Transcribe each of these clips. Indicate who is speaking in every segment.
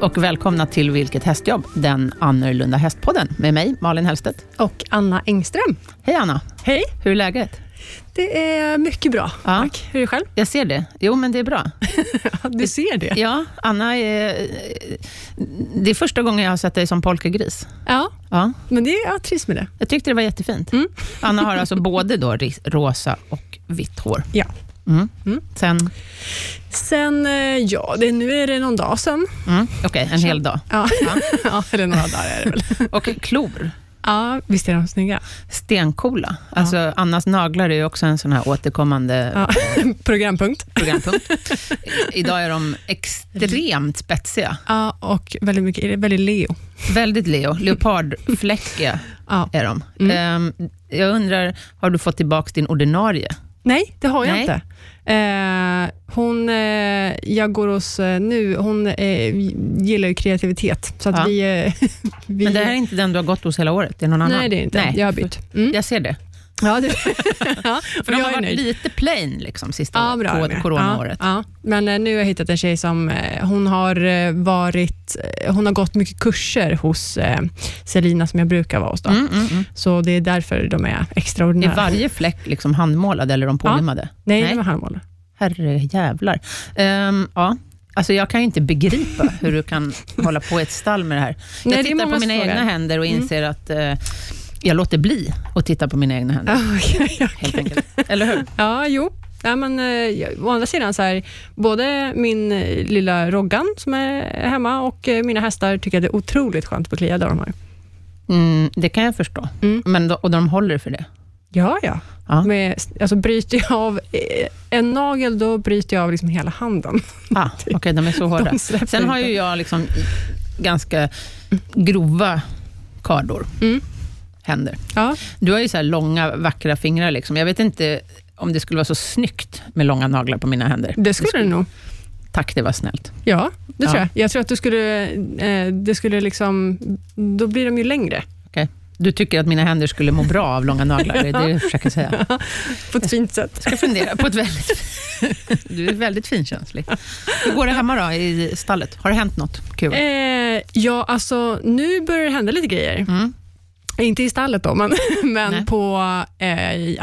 Speaker 1: och välkomna till Vilket hästjobb? Den annorlunda hästpodden med mig, Malin Hellstedt.
Speaker 2: Och Anna Engström.
Speaker 1: Hej Anna!
Speaker 2: Hej.
Speaker 1: Hur är läget?
Speaker 2: Det är mycket bra, tack. Hur är det själv?
Speaker 1: Jag ser det. Jo, men det är bra.
Speaker 2: Du ser det.
Speaker 1: Ja, Anna är... Det är första gången jag har sett dig som polkagris.
Speaker 2: Ja,
Speaker 1: Ja,
Speaker 2: men det, jag trivs med det.
Speaker 1: jag tyckte det var jättefint.
Speaker 2: Mm.
Speaker 1: Anna har alltså både då ris- rosa och vitt hår.
Speaker 2: Ja.
Speaker 1: Mm. Sen,
Speaker 2: Sen, eh, ja, det, nu är det någon dag sen.
Speaker 1: mm, okej, en hel dag.
Speaker 2: Ja, ja eller några dagar är det väl.
Speaker 1: Och klor.
Speaker 2: Ja, visst är de snygga?
Speaker 1: Stencoola. Alltså, Annas naglar är ju också en sån här återkommande
Speaker 2: Ja. Programpunkt.
Speaker 1: programpunkt. I- Idag är de extremt spetsiga.
Speaker 2: Ja, och väldigt mycket, väldigt Leo.
Speaker 1: Väldigt Leo. Leopardfläckiga
Speaker 2: Ja.
Speaker 1: är de.
Speaker 2: Mm.
Speaker 1: Ehm, jag undrar, har du fått tillbaka din ordinarie?
Speaker 2: Nej, det har jag
Speaker 1: Nej.
Speaker 2: inte. Eh, hon, eh, jag går hos eh, nu, hon eh, gillar ju kreativitet. Så att
Speaker 1: Ja.
Speaker 2: vi, eh, vi...
Speaker 1: Men det här är inte den du har gått hos hela året? Det är någon annan?
Speaker 2: Nej, det är inte.
Speaker 1: Nej.
Speaker 2: Jag har bytt. Mm.
Speaker 1: Jag ser det.
Speaker 2: Ja, det... ja,
Speaker 1: För
Speaker 2: och
Speaker 1: de
Speaker 2: jag
Speaker 1: har
Speaker 2: är
Speaker 1: varit
Speaker 2: nöjd.
Speaker 1: lite plain liksom, sista
Speaker 2: Ja, bra.
Speaker 1: året,
Speaker 2: Arne.
Speaker 1: cor- coronaåret.
Speaker 2: Ja, ja. Men eh, nu har jag hittat en tjej som eh, hon har, eh, varit, eh, hon har gått mycket kurser hos eh, Selina som jag brukar vara hos. Då.
Speaker 1: Mm, mm, mm.
Speaker 2: Så det är därför de är
Speaker 1: Är
Speaker 2: extraordinära.
Speaker 1: varje fläck liksom handmålad eller de pålimmade?
Speaker 2: Nej,
Speaker 1: Nej.
Speaker 2: de är handmålade.
Speaker 1: Herrejävlar. Ehm, ja. Alltså jag kan ju inte begripa hur du kan hålla på i ett stall med det här. Jag
Speaker 2: Nej, det är Mm.
Speaker 1: tittar på
Speaker 2: mångas
Speaker 1: mina
Speaker 2: fråga.
Speaker 1: egna händer och inser att eh, jag låter bli att titta på mina egna händer.
Speaker 2: Ja, okej, ja.
Speaker 1: Helt enkelt. Eller hur?
Speaker 2: Ja, jo. Ja, men, eh, jag- å andra sidan, så här, både min eh, lilla Roggan som är hemma och eh, mina hästar tycker att det är otroligt skönt att bli kliade av de här.
Speaker 1: Mm, det kan jag förstå.
Speaker 2: Mm.
Speaker 1: Men då, och de håller för det.
Speaker 2: Ja, ja.
Speaker 1: Ja.
Speaker 2: Med, alltså, bryter jag av eh, en nagel, då bryter jag av liksom hela handen.
Speaker 1: Ah, Okej, de är så hårda.
Speaker 2: De släpper
Speaker 1: Sen har
Speaker 2: inte.
Speaker 1: ju jag liksom ganska grova kardor,
Speaker 2: Mm.
Speaker 1: händer.
Speaker 2: Ja.
Speaker 1: Du har ju så här långa, vackra fingrar. Liksom. Jag vet inte om det skulle vara så snyggt med långa naglar på mina händer.
Speaker 2: Det skulle det nog.
Speaker 1: Tack, det var snällt.
Speaker 2: Ja, det
Speaker 1: Ja.
Speaker 2: tror jag. Jag tror att du skulle, eh, det skulle liksom, då blir de ju längre.
Speaker 1: Okej. Du tycker att mina händer skulle må bra av långa naglar, det är det du försöker säga.
Speaker 2: På ett fint sätt.
Speaker 1: Jag ska fundera på ett väldigt... Du är väldigt finkänslig. Hur går det hemma då, i stallet? Har det hänt något kul?
Speaker 2: Eh, ja, alltså nu börjar det hända lite grejer.
Speaker 1: Mm.
Speaker 2: Inte i stallet då, men,
Speaker 1: Nej.
Speaker 2: men på eh, i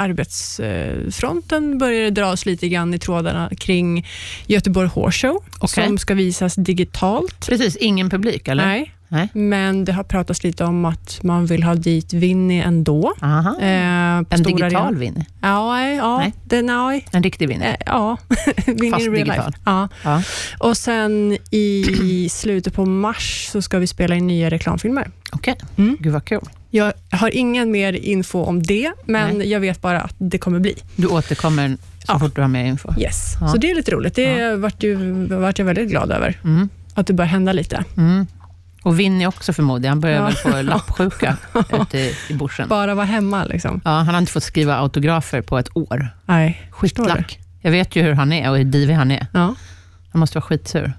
Speaker 2: arbetsfronten börjar det dras lite grann i trådarna kring Göteborg Horse Show,
Speaker 1: Okej.
Speaker 2: som ska visas digitalt.
Speaker 1: Precis, ingen publik eller?
Speaker 2: Nej.
Speaker 1: Nej.
Speaker 2: men det har pratats lite om att man vill ha dit Winnie ändå.
Speaker 1: Aha.
Speaker 2: Eh, på
Speaker 1: Ah. En
Speaker 2: stora
Speaker 1: digital
Speaker 2: arenan.
Speaker 1: Winnie?
Speaker 2: Ja, nej, ja,
Speaker 1: Nej.
Speaker 2: Den, nej,
Speaker 1: En riktig Winnie?
Speaker 2: Eh, Ja, Winning
Speaker 1: Fast
Speaker 2: in real
Speaker 1: digital.
Speaker 2: life. Ja.
Speaker 1: Ja.
Speaker 2: Och sen i slutet på mars så ska vi spela in nya reklamfilmer.
Speaker 1: Okej,
Speaker 2: Mm.
Speaker 1: gud vad kul.
Speaker 2: Jag har ingen mer info om det, men jag vet bara att det kommer bli.
Speaker 1: Du återkommer så
Speaker 2: Ja.
Speaker 1: fort du har mer info.
Speaker 2: Yes.
Speaker 1: Ja.
Speaker 2: Så det är lite roligt. Det vart, ju, vart jag väldigt glad över,
Speaker 1: Mm.
Speaker 2: att det börjar hända lite.
Speaker 1: Mm. Och Winnie också förmodligen, han börjar
Speaker 2: Ja.
Speaker 1: väl få lappsjuka ute i- i bushen.
Speaker 2: Bara vara hemma liksom.
Speaker 1: Ja, han har inte fått skriva autografer på ett år.
Speaker 2: Nej, förstår du?
Speaker 1: Skitlack. Jag vet ju hur han är och hur divig han är.
Speaker 2: Ja.
Speaker 1: Han måste vara skitsur.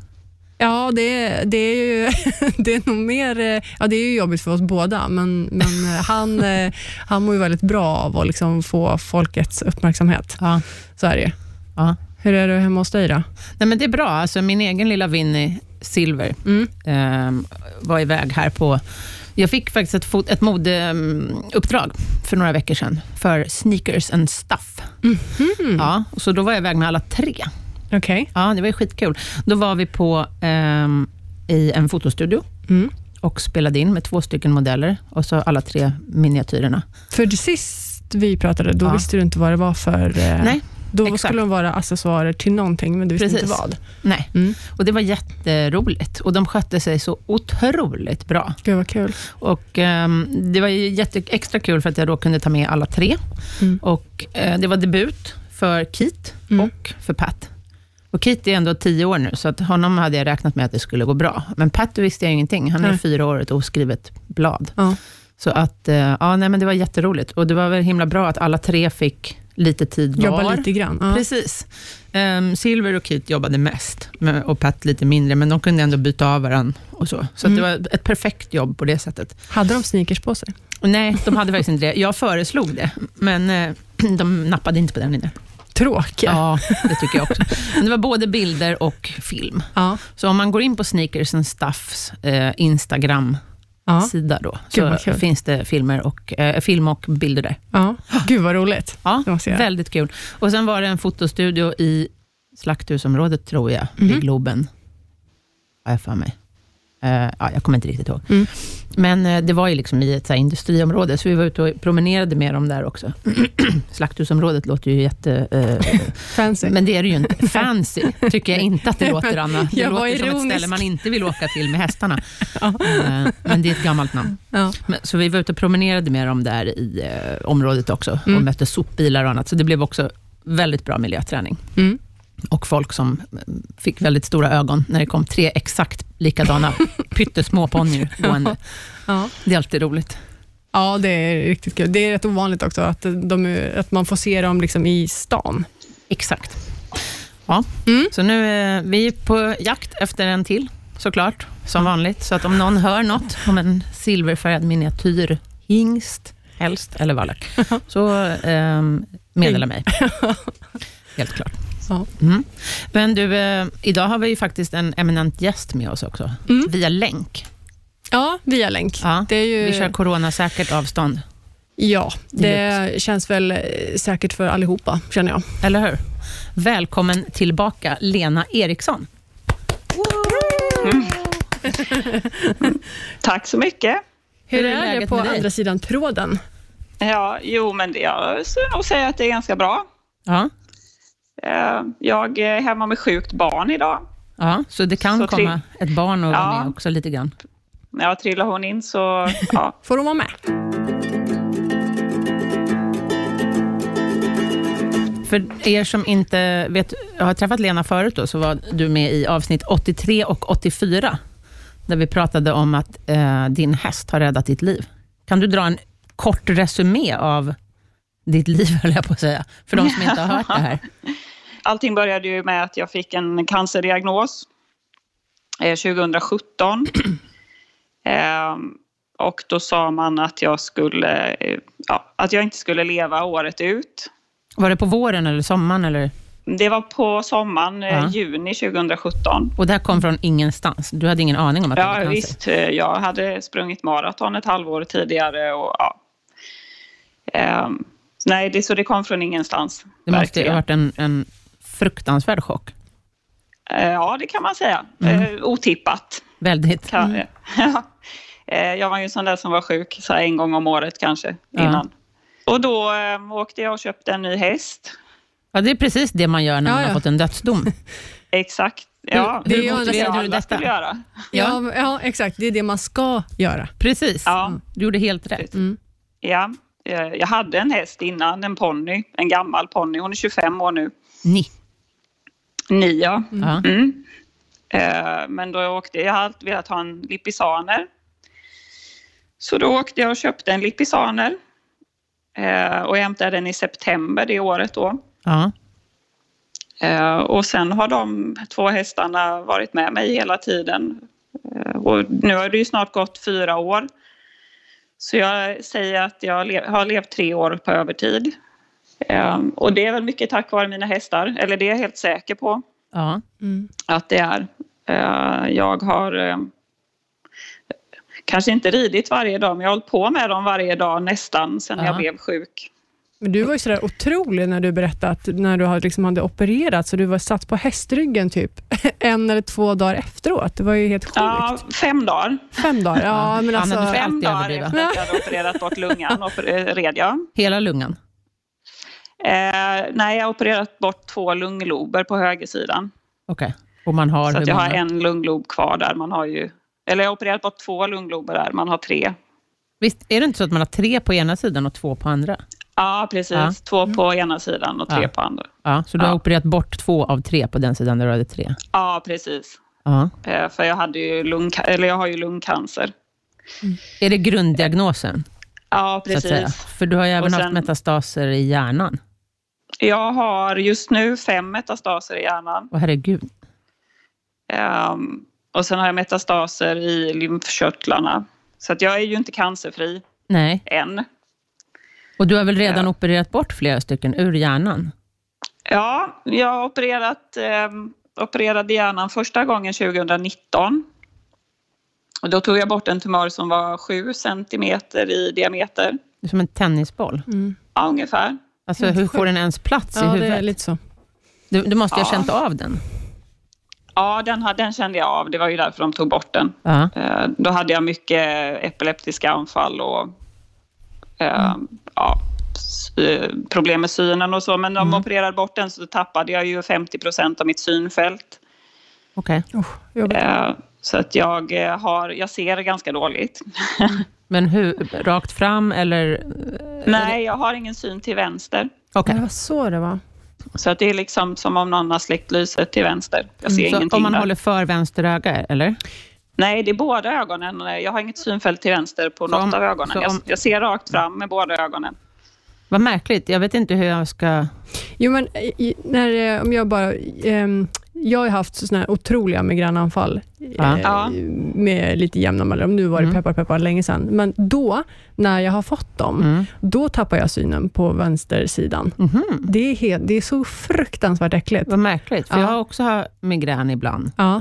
Speaker 2: Ja, det, det är ju det är nog mer, eh, ja det är ju jobbigt för oss båda, men, men eh, han, eh, han mår ju väldigt bra av att liksom få folkets uppmärksamhet.
Speaker 1: Ja.
Speaker 2: Så är det ju.
Speaker 1: Ja.
Speaker 2: Hur är det hemma hos dig då?
Speaker 1: Nej, men det är bra. Alltså, min egen lilla Winnie Silver
Speaker 2: Mm.
Speaker 1: ehm, var iväg här på... Jag fick faktiskt ett, fot, ett modeuppdrag för några veckor sedan för sneakers and stuff. Ja, och så då var jag iväg med alla tre.
Speaker 2: Okej.
Speaker 1: Ja, det var ju skitkul. Då var vi på ehm, i en fotostudio
Speaker 2: Mm.
Speaker 1: och spelade in med två stycken modeller och så alla tre miniatyrerna.
Speaker 2: För det sist vi pratade, då
Speaker 1: Ja.
Speaker 2: visste du inte vad det var för... eh,
Speaker 1: Nej,
Speaker 2: då
Speaker 1: exakt.
Speaker 2: skulle de vara accessoarer till någonting, men du visste
Speaker 1: Precis.
Speaker 2: inte vad.
Speaker 1: Nej,
Speaker 2: Mm.
Speaker 1: och det var jätteroligt och de skötte sig så otroligt bra.
Speaker 2: Gud vad kul.
Speaker 1: Och ehm, Det var ju jätte, extra kul för att jag då kunde ta med alla tre.
Speaker 2: Mm.
Speaker 1: Och eh, Det var debut för Kit
Speaker 2: Mm.
Speaker 1: och för Pat. Och Kit är ändå tio år nu, så att honom hade jag räknat med att det skulle gå bra. Men Pat visste jag ingenting. Han är
Speaker 2: Nej.
Speaker 1: fyra år och ett oskrivet blad.
Speaker 2: Ja.
Speaker 1: Så att, eh, ja, nej, men det var jätteroligt. Och det var väl himla bra att alla tre fick lite tid var.
Speaker 2: Jobba lite grann. Ja.
Speaker 1: Precis. Ehm, Silver och Kit jobbade mest men- och Pat lite mindre, men de kunde ändå byta av varandra. Och så så
Speaker 2: Mm.
Speaker 1: att det var ett perfekt jobb på det sättet.
Speaker 2: Hade de sneakers på sig?
Speaker 1: Och nej, de hade faktiskt inte det. Jag föreslog det, men eh, de nappade inte på den idén.
Speaker 2: tråkiga.
Speaker 1: Ja, det tycker jag också. Men det var både bilder och film.
Speaker 2: Ja.
Speaker 1: Så om man går in på Sneakers and Stuffs eh, Instagram-sida
Speaker 2: Ja.
Speaker 1: då,
Speaker 2: Gud,
Speaker 1: så
Speaker 2: vad kul.
Speaker 1: finns det filmer och, eh, film och bilder där.
Speaker 2: ja. Gud vad roligt.
Speaker 1: Ja,
Speaker 2: Det måste jag göra.
Speaker 1: väldigt kul. Och sen var det en fotostudio i Slakthusområdet, tror jag,
Speaker 2: Mhm.
Speaker 1: vid Globen. Har jag för mig. Eh, ja, jag kommer inte riktigt ihåg.
Speaker 2: Mm.
Speaker 1: Men eh, det var ju liksom i ett så här, industriområde, så vi var ute och promenerade med dem där också. Slakthusområdet låter ju jätte... Eh,
Speaker 2: Fancy.
Speaker 1: men det är det ju inte. Fancy tycker jag inte att det låter, Anna. Det
Speaker 2: Jag var
Speaker 1: låter som ett
Speaker 2: ironisk.
Speaker 1: ställe man inte vill åka till med hästarna.
Speaker 2: Ja.
Speaker 1: Eh, Men det är ett gammalt namn.
Speaker 2: Ja.
Speaker 1: Men, så vi var ute och promenerade med dem där i eh, området också
Speaker 2: Mm.
Speaker 1: och mötte sopbilar och annat. Så det blev också väldigt bra miljöträning.
Speaker 2: Mm.
Speaker 1: Och folk som eh, fick väldigt stora ögon när det kom tre exakt likadana pyttesmå ponnyer gående.
Speaker 2: Ja.
Speaker 1: Det är alltid roligt.
Speaker 2: ja, det är riktigt kul. Det är rätt ovanligt också att, de, är- att man får se dem liksom i stan.
Speaker 1: Exakt. Ja,
Speaker 2: Mm.
Speaker 1: så nu eh, vi är på jakt efter en till såklart, som
Speaker 2: Mm.
Speaker 1: vanligt. Så att om någon hör något om en silverfärgad miniatyr, hingst, helst eller vallack, så eh, meddela mig. Helt klart.
Speaker 2: Ja.
Speaker 1: Mm. Men du, eh, idag har vi ju faktiskt en eminent gäst med oss också,
Speaker 2: Mm.
Speaker 1: via länk.
Speaker 2: Ja, via länk.
Speaker 1: Ja.
Speaker 2: Det är ju...
Speaker 1: Vi kör coronasäkert avstånd,
Speaker 2: Ja, det känns väl eh, säkert för allihopa, känner jag.
Speaker 1: eller hur? Välkommen tillbaka, Lena Eriksson.
Speaker 3: Tack så mycket.
Speaker 1: Hur är
Speaker 2: det
Speaker 1: läget
Speaker 2: på
Speaker 1: med dig?
Speaker 2: andra sidan tråden?
Speaker 3: Ja, jo, men det, jag skulle nog säga att det är ganska bra.
Speaker 1: Ja,
Speaker 3: Eh, Jag är hemma med sjukt barn idag.
Speaker 1: ja så det kan
Speaker 3: Så tre-
Speaker 1: komma ett barn och vara
Speaker 3: Ja.
Speaker 1: med också lite grann.
Speaker 3: När jag trillar hon in så, ja.
Speaker 2: Får de vara med?
Speaker 1: För er som inte vet, jag har träffat Lena förut, då, så var du med i avsnitt 83 och 84, där vi pratade om att eh, din häst har räddat ditt liv. Kan du dra en kort resumé av ditt liv, höll jag på att säga, för de som inte har hört det här?
Speaker 3: Allting började ju med att jag fick en cancerdiagnos eh, 2017. Eh, Och då sa man att jag, skulle, eh, ja, att jag inte skulle leva året ut.
Speaker 1: Var det på våren eller sommaren? Eller?
Speaker 3: Det var på sommaren, eh,
Speaker 1: Ja.
Speaker 3: juni 2017.
Speaker 1: Och det här kom från ingenstans? Du hade ingen aning om att det var
Speaker 3: Ja,
Speaker 1: cancer?
Speaker 3: visst. Eh, Jag hade sprungit maraton ett halvår tidigare. Och, ja. Ehm, nej, det, så det kom från ingenstans.
Speaker 1: Det måste ju
Speaker 3: verkligen.
Speaker 1: ha varit en, en fruktansvärd chock.
Speaker 3: Eh, Ja, det kan man säga.
Speaker 1: Mm.
Speaker 3: Eh, otippat.
Speaker 1: Väldigt.
Speaker 3: Kan,
Speaker 1: Mm.
Speaker 3: ja. Eh, jag var ju en sån där som var sjuk så här en gång om året kanske
Speaker 1: Ja.
Speaker 3: innan. Och då eh, åkte jag och köpte en ny häst.
Speaker 1: Ja, det är precis det man gör när
Speaker 2: Ja,
Speaker 1: man har
Speaker 2: ja.
Speaker 1: fått en dödsdom.
Speaker 3: Exakt. Ja,
Speaker 1: Hur- hur
Speaker 3: det är
Speaker 1: motiverade
Speaker 3: det
Speaker 1: du
Speaker 3: alla
Speaker 1: detta?
Speaker 3: skulle göra.
Speaker 1: Ja.
Speaker 2: Ja. Ja, exakt. Det är det man ska göra.
Speaker 1: Precis.
Speaker 3: Ja,
Speaker 1: Du gjorde helt rätt.
Speaker 3: ja. Eh, Jag hade en häst innan, en ponny. En gammal ponny. Hon är 25 år nu.
Speaker 1: Ni.
Speaker 3: Nia.
Speaker 1: Ja.
Speaker 3: Mm. Eh, men då jag åkte jag, har alltid velat ha en lippisaner. Så då åkte jag och köpte en lippisaner. Eh, och jag hämtade den i september det året då.
Speaker 1: Ja.
Speaker 3: Eh, och sen har de två hästarna varit med mig hela tiden. Eh, och nu har det ju snart gått fyra år. Så jag säger att jag le- har levt tre år på övertid. Eh, och det är väl mycket tack vare mina hästar, eller det är jag helt säker på
Speaker 1: ja.
Speaker 2: Mm.
Speaker 3: att det är. Eh, Jag har eh, kanske inte ridit varje dag, men jag har hållit på med dem varje dag nästan sedan
Speaker 1: Ja.
Speaker 3: jag blev sjuk.
Speaker 2: Men du var ju sådär otrolig när du berättade att när du hade, liksom hade opererat, så du var satt på hästryggen typ en eller två dagar efteråt. Det var ju helt sjukt.
Speaker 3: Ja, fem dagar.
Speaker 2: Fem dagar. Ja, men
Speaker 1: Ja,
Speaker 2: alltså,
Speaker 1: men du får-
Speaker 3: Fem
Speaker 1: alltid
Speaker 3: dagar
Speaker 1: överdriva.
Speaker 3: efter att jag hade opererat bort lungan och red jag.
Speaker 1: Hela lungan.
Speaker 3: Eh, nej, jag har opererat bort två lunglober på högersidan.
Speaker 1: Okej. Och man har
Speaker 3: Så
Speaker 1: hur
Speaker 3: att jag har
Speaker 1: många?
Speaker 3: en lunglob kvar där. Man har ju, eller jag har opererat bort två lunglober där, man har tre.
Speaker 1: Visst är det inte så att man har tre på ena sidan och två på andra?
Speaker 3: Ja, precis.
Speaker 1: Ja.
Speaker 3: Två på ena sidan och tre
Speaker 1: Ja.
Speaker 3: på andra.
Speaker 1: Ja, så du har
Speaker 3: Ja.
Speaker 1: opererat bort två av tre på den sidan där du hade tre?
Speaker 3: Ja, precis.
Speaker 1: Ja.
Speaker 3: Eh, För jag, hade ju lung, eller jag har ju lungcancer.
Speaker 1: Är det grunddiagnosen?
Speaker 3: Ja,
Speaker 1: Så att säga?
Speaker 3: precis.
Speaker 1: För du har ju även
Speaker 3: Och sen-
Speaker 1: haft metastaser i hjärnan.
Speaker 3: Jag har just nu fem metastaser i hjärnan.
Speaker 1: Åh herregud.
Speaker 3: Ehm, och sen har jag metastaser i lymfkörtlarna. Så att jag är ju inte cancerfri
Speaker 1: Nej.
Speaker 3: än.
Speaker 1: Och du har väl redan
Speaker 3: Ja.
Speaker 1: opererat bort flera stycken ur hjärnan?
Speaker 3: Ja, jag har opererat, eh, opererade hjärnan första gången 2019. Och då tog jag bort en tumör som var 7 centimeter i diameter.
Speaker 1: Det är Som en tennisboll.
Speaker 2: Mm.
Speaker 3: Ja, ungefär.
Speaker 1: Alltså,
Speaker 2: Helt
Speaker 1: hur
Speaker 2: sjukt.
Speaker 1: får den ens plats i
Speaker 2: Ja, det
Speaker 1: huvudet?
Speaker 2: är lite så.
Speaker 1: Du, du måste ju ha
Speaker 3: Ja.
Speaker 1: känt av den.
Speaker 3: Ja, den, ha- den kände jag av. Det var ju därför de tog bort den.
Speaker 1: Ja.
Speaker 3: Eh, Då hade jag mycket epileptiska anfall och eh,
Speaker 1: Mm.
Speaker 3: ja, s- eh, problem med synen och så. Men
Speaker 1: Mm.
Speaker 3: de opererade bort den så tappade jag ju 50 procent av mitt synfält.
Speaker 1: Okej.
Speaker 2: Usch, jobbigt.
Speaker 3: Eh, Så att jag, eh, har, jag ser ganska dåligt.
Speaker 1: Men hur? Rakt fram eller?
Speaker 3: Nej, jag har ingen syn till vänster.
Speaker 1: Okej.
Speaker 2: Det var så det var.
Speaker 3: Så att det är liksom som om någon har släckt lyset till vänster. Jag ser
Speaker 1: Mm, Så
Speaker 3: ingenting
Speaker 1: om man
Speaker 3: där.
Speaker 1: håller för vänster öga, eller?
Speaker 3: Nej, det är båda ögonen. Jag har inget synfält till vänster på något
Speaker 1: om-
Speaker 3: av ögonen.
Speaker 1: så
Speaker 3: Jag,
Speaker 1: om-
Speaker 3: jag ser rakt fram med båda ögonen.
Speaker 1: Vad märkligt. Jag vet inte hur jag ska...
Speaker 2: Jo, men i, när, eh, om jag bara... ehm, jag har ju haft såna här otroliga migränanfall
Speaker 1: Ja.
Speaker 2: eh,
Speaker 3: Ja.
Speaker 2: med lite jämna mellanrum. Nu var det
Speaker 1: Mm.
Speaker 2: peppar peppar länge sedan. Men då, när jag har fått dem,
Speaker 1: Mm.
Speaker 2: då tappar jag synen på vänstersidan.
Speaker 1: Mhm.
Speaker 2: Det är, helt, det är så fruktansvärt äckligt.
Speaker 1: Vad märkligt, för
Speaker 2: Ja.
Speaker 1: jag har också har migrän ibland.
Speaker 2: Ja.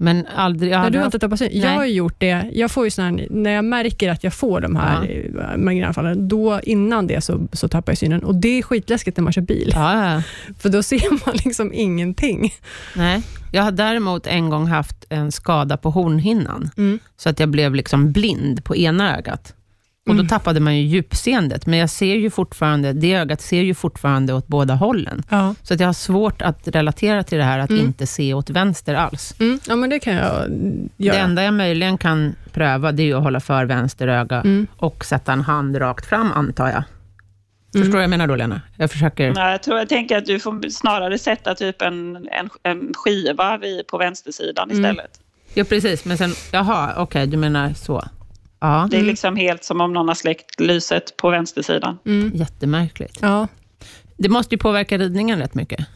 Speaker 1: Men aldrig... Jag
Speaker 2: Ja,
Speaker 1: har
Speaker 2: du har
Speaker 1: haft,
Speaker 2: inte tappat syn. Jag
Speaker 1: Nej.
Speaker 2: har ju gjort det. Jag får ju sån här, när jag märker att jag får de här ja. migränanfallen, då innan det så, så tappar jag synen. Och det är skitläskigt när man kör bil,
Speaker 1: ja, ja.
Speaker 2: för då ser man liksom ingenting.
Speaker 1: Nej. Jag har däremot en gång haft en skada på hornhinnan, så att jag blev liksom blind på ena ögat. Och
Speaker 2: Mm.
Speaker 1: Då tappade man ju djupseendet, men jag ser ju fortfarande, det ögat ser ju fortfarande åt båda hållen.
Speaker 2: Ja.
Speaker 1: Så att jag har svårt att relatera till det här att inte se åt vänster alls.
Speaker 2: Mm. ja, men det kan jag göra.
Speaker 1: Det enda jag möjligen kan pröva, det är ju att hålla för vänster öga och sätta en hand rakt fram, antar jag. Förstår du vad jag menar då, Lena? Jag försöker...
Speaker 3: Nej, jag, tror, jag tänker att du får snarare sätta typ en, en, en skiva vid, på vänstersidan istället.
Speaker 1: Ja, precis. Men sen, jaha, okej, du menar så. Ja,
Speaker 3: Det är liksom helt som om någon har släckt lyset på vänstersidan.
Speaker 1: Mm. jättemärkligt.
Speaker 2: Ja.
Speaker 1: Det måste ju påverka ridningen rätt mycket.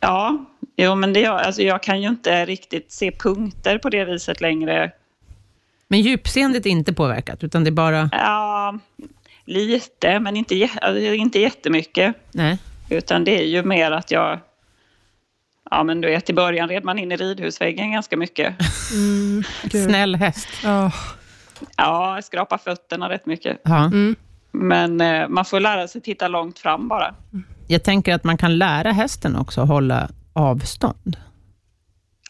Speaker 3: Ja, jo, men det, gör- alltså, jag kan ju inte riktigt se punkter på det viset längre.
Speaker 1: Men djupseendet är inte påverkat, utan det är bara...
Speaker 3: Ja, lite, men inte, jä- alltså, inte jättemycket.
Speaker 1: Nej.
Speaker 3: Utan det är ju mer att jag... Ja, men du vet, i början red man in i ridhusväggen ganska mycket.
Speaker 2: Mm. Gud.
Speaker 1: Snäll häst.
Speaker 2: Ja.
Speaker 3: Ja, jag skrapar fötterna rätt mycket.
Speaker 1: Ja.
Speaker 3: Men eh, man får lära sig titta långt fram bara.
Speaker 1: Jag tänker att man kan lära hästen också att hålla avstånd.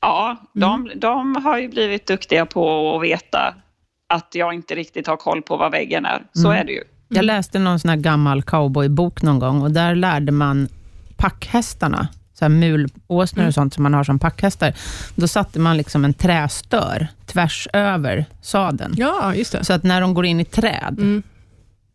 Speaker 3: Ja, de, de har ju blivit duktiga på att veta att jag inte riktigt har koll på vad väggen är. Så är det ju.
Speaker 2: Mm.
Speaker 1: Jag läste någon sån här gammal cowboybok någon gång och där lärde man packhästarna, så här mulåsnor
Speaker 2: Mm.
Speaker 1: och sånt som man har som packhästar. Då satte man liksom en trästör tvärs över sadeln.
Speaker 2: ja, just det.
Speaker 1: Så att när de går in i träd,
Speaker 2: Mm.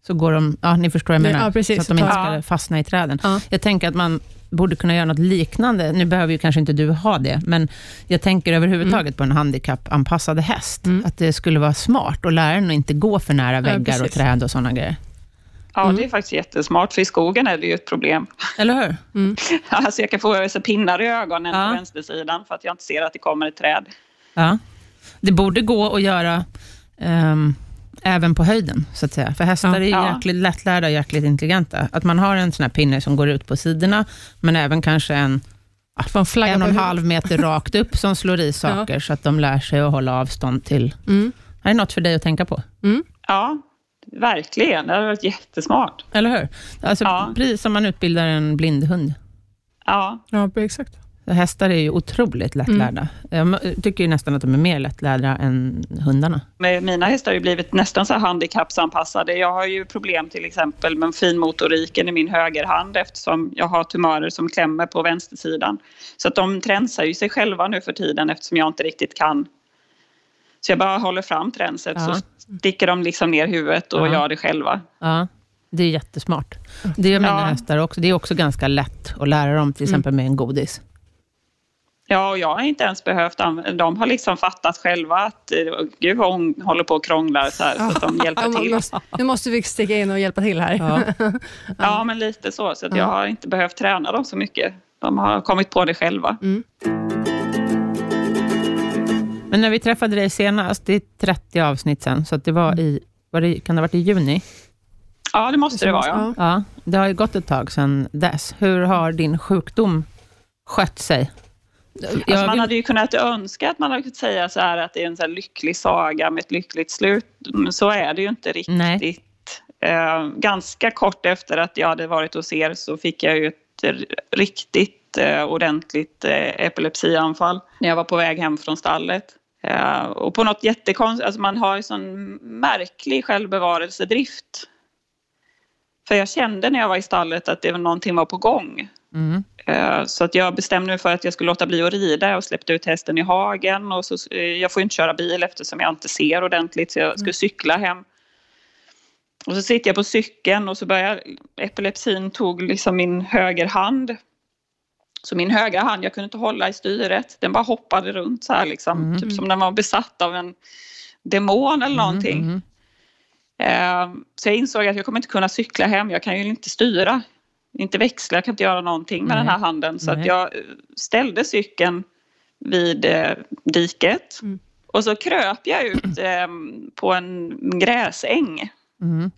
Speaker 1: så går de... Ja, ni förstår vad jag
Speaker 2: Nej,
Speaker 1: menar.
Speaker 2: ja, precis.
Speaker 1: så att de inte
Speaker 3: Ja.
Speaker 1: ska fastna i träden.
Speaker 2: Ja.
Speaker 1: Jag tänker att man borde kunna göra något liknande. Nu behöver ju kanske inte du ha det, men jag tänker överhuvudtaget
Speaker 2: Mm.
Speaker 1: på en handikappanpassad häst. Att det skulle vara smart att lära den att inte gå för nära väggar och
Speaker 2: precis.
Speaker 1: träd och sådana grejer.
Speaker 3: Ja, det är faktiskt jättesmart, för i skogen är det ju ett problem.
Speaker 1: Eller hur?
Speaker 3: Alltså jag kan få så pinnar i ögonen
Speaker 1: Ja.
Speaker 3: på vänstersidan för att jag inte ser att det kommer ett träd.
Speaker 1: Ja. Det borde gå att göra ehm, även på höjden, så att säga. För hästar
Speaker 2: Ja.
Speaker 1: är ju
Speaker 3: Ja.
Speaker 1: jäkligt lättlärda och jäkligt intelligenta. Att man har en sån här pinne som går ut på sidorna, men även kanske en
Speaker 2: Fan, flagga
Speaker 1: en och en
Speaker 2: på
Speaker 1: halv meter rakt upp som slår i saker, så att de lär sig att hålla avstånd till.
Speaker 2: huvudet. Mm.
Speaker 1: Det är något för dig att tänka på,
Speaker 3: Ja, verkligen. Det hade varit jättesmart.
Speaker 1: eller hur? Alltså,
Speaker 3: Ja.
Speaker 1: Precis som man utbildar en blindhund.
Speaker 3: Ja,
Speaker 2: Ja, exakt.
Speaker 1: Hästar är ju otroligt lättlärda. Jag tycker ju nästan att de är mer lättlärda än hundarna.
Speaker 3: med mina hästar har ju blivit nästan så här handikappsanpassade. Jag har ju problem till exempel med finmotoriken i min högerhand eftersom jag har tumörer som klämmer på vänstersidan. Så att de tränsar ju sig själva nu för tiden eftersom jag inte riktigt kan. Så jag bara håller fram tränset
Speaker 1: Ja.
Speaker 3: så sticker de liksom ner huvudet och
Speaker 1: Ja.
Speaker 3: gör det själva.
Speaker 1: Ja, det är jättesmart. Det gör mina
Speaker 3: Ja. Mm.
Speaker 1: hästar också. Det är också ganska lätt att lära dem, till exempel med en godis.
Speaker 3: Ja, och jag har inte ens behövt använda... De har liksom fattat själva att eh, gud vad hon håller på och krånglar så här, så att de
Speaker 2: Ja,
Speaker 3: hjälper
Speaker 2: man
Speaker 3: till.
Speaker 2: måste, nu måste vi sticka in och hjälpa till här.
Speaker 1: Ja.
Speaker 3: Ja, men lite så. Så att jag har inte behövt träna dem så mycket. De har kommit på det själva.
Speaker 1: Men när vi träffade dig senast, det är 30 avsnitt sen, så att det var i, var det, kan det ha varit i juni?
Speaker 3: Ja, det måste det vara. Ja.
Speaker 1: Ja, det har ju gått ett tag sedan dess. Hur har din sjukdom skött sig?
Speaker 3: Alltså
Speaker 1: Jag
Speaker 3: man
Speaker 1: vill-
Speaker 3: hade ju kunnat önska att man hade kunnat säga så här att det är en så här lycklig saga med ett lyckligt slut. Men så är det ju inte riktigt.
Speaker 1: Nej.
Speaker 3: Eh, ganska kort efter att jag hade varit hos er så fick jag ju ett r- riktigt eh, ordentligt eh, epilepsianfall när jag var på väg hem från stallet. Eh, och på något jättekonstigt, alltså man har ju sån märklig självbevarelsedrift. För jag kände när jag var i stallet att det var någonting var på gång.
Speaker 1: Mm.
Speaker 3: Eh, Så att jag bestämde mig för att jag skulle låta bli att rida och släppte ut hästen i hagen. Och så, eh, jag får ju inte köra bil eftersom jag inte ser ordentligt så
Speaker 1: Mm.
Speaker 3: jag skulle cykla hem. Och så sitter jag på cykeln och så börjar epilepsin tog liksom min högerhand. Så min högra hand, jag kunde inte hålla i styret. Den bara hoppade runt så här liksom.
Speaker 1: Mm.
Speaker 3: Typ som den var besatt av en demon eller någonting.
Speaker 1: Mm,
Speaker 3: Eh, Så jag insåg att jag kommer inte kunna cykla hem, jag kan ju inte styra, inte växla, jag kan inte göra någonting med
Speaker 1: Nej.
Speaker 3: den här handen. Så att
Speaker 1: Nej.
Speaker 3: jag eh, ställde cykeln vid eh, diket
Speaker 2: Mm.
Speaker 3: och så kröp jag ut eh, på en gräsäng
Speaker 1: mm,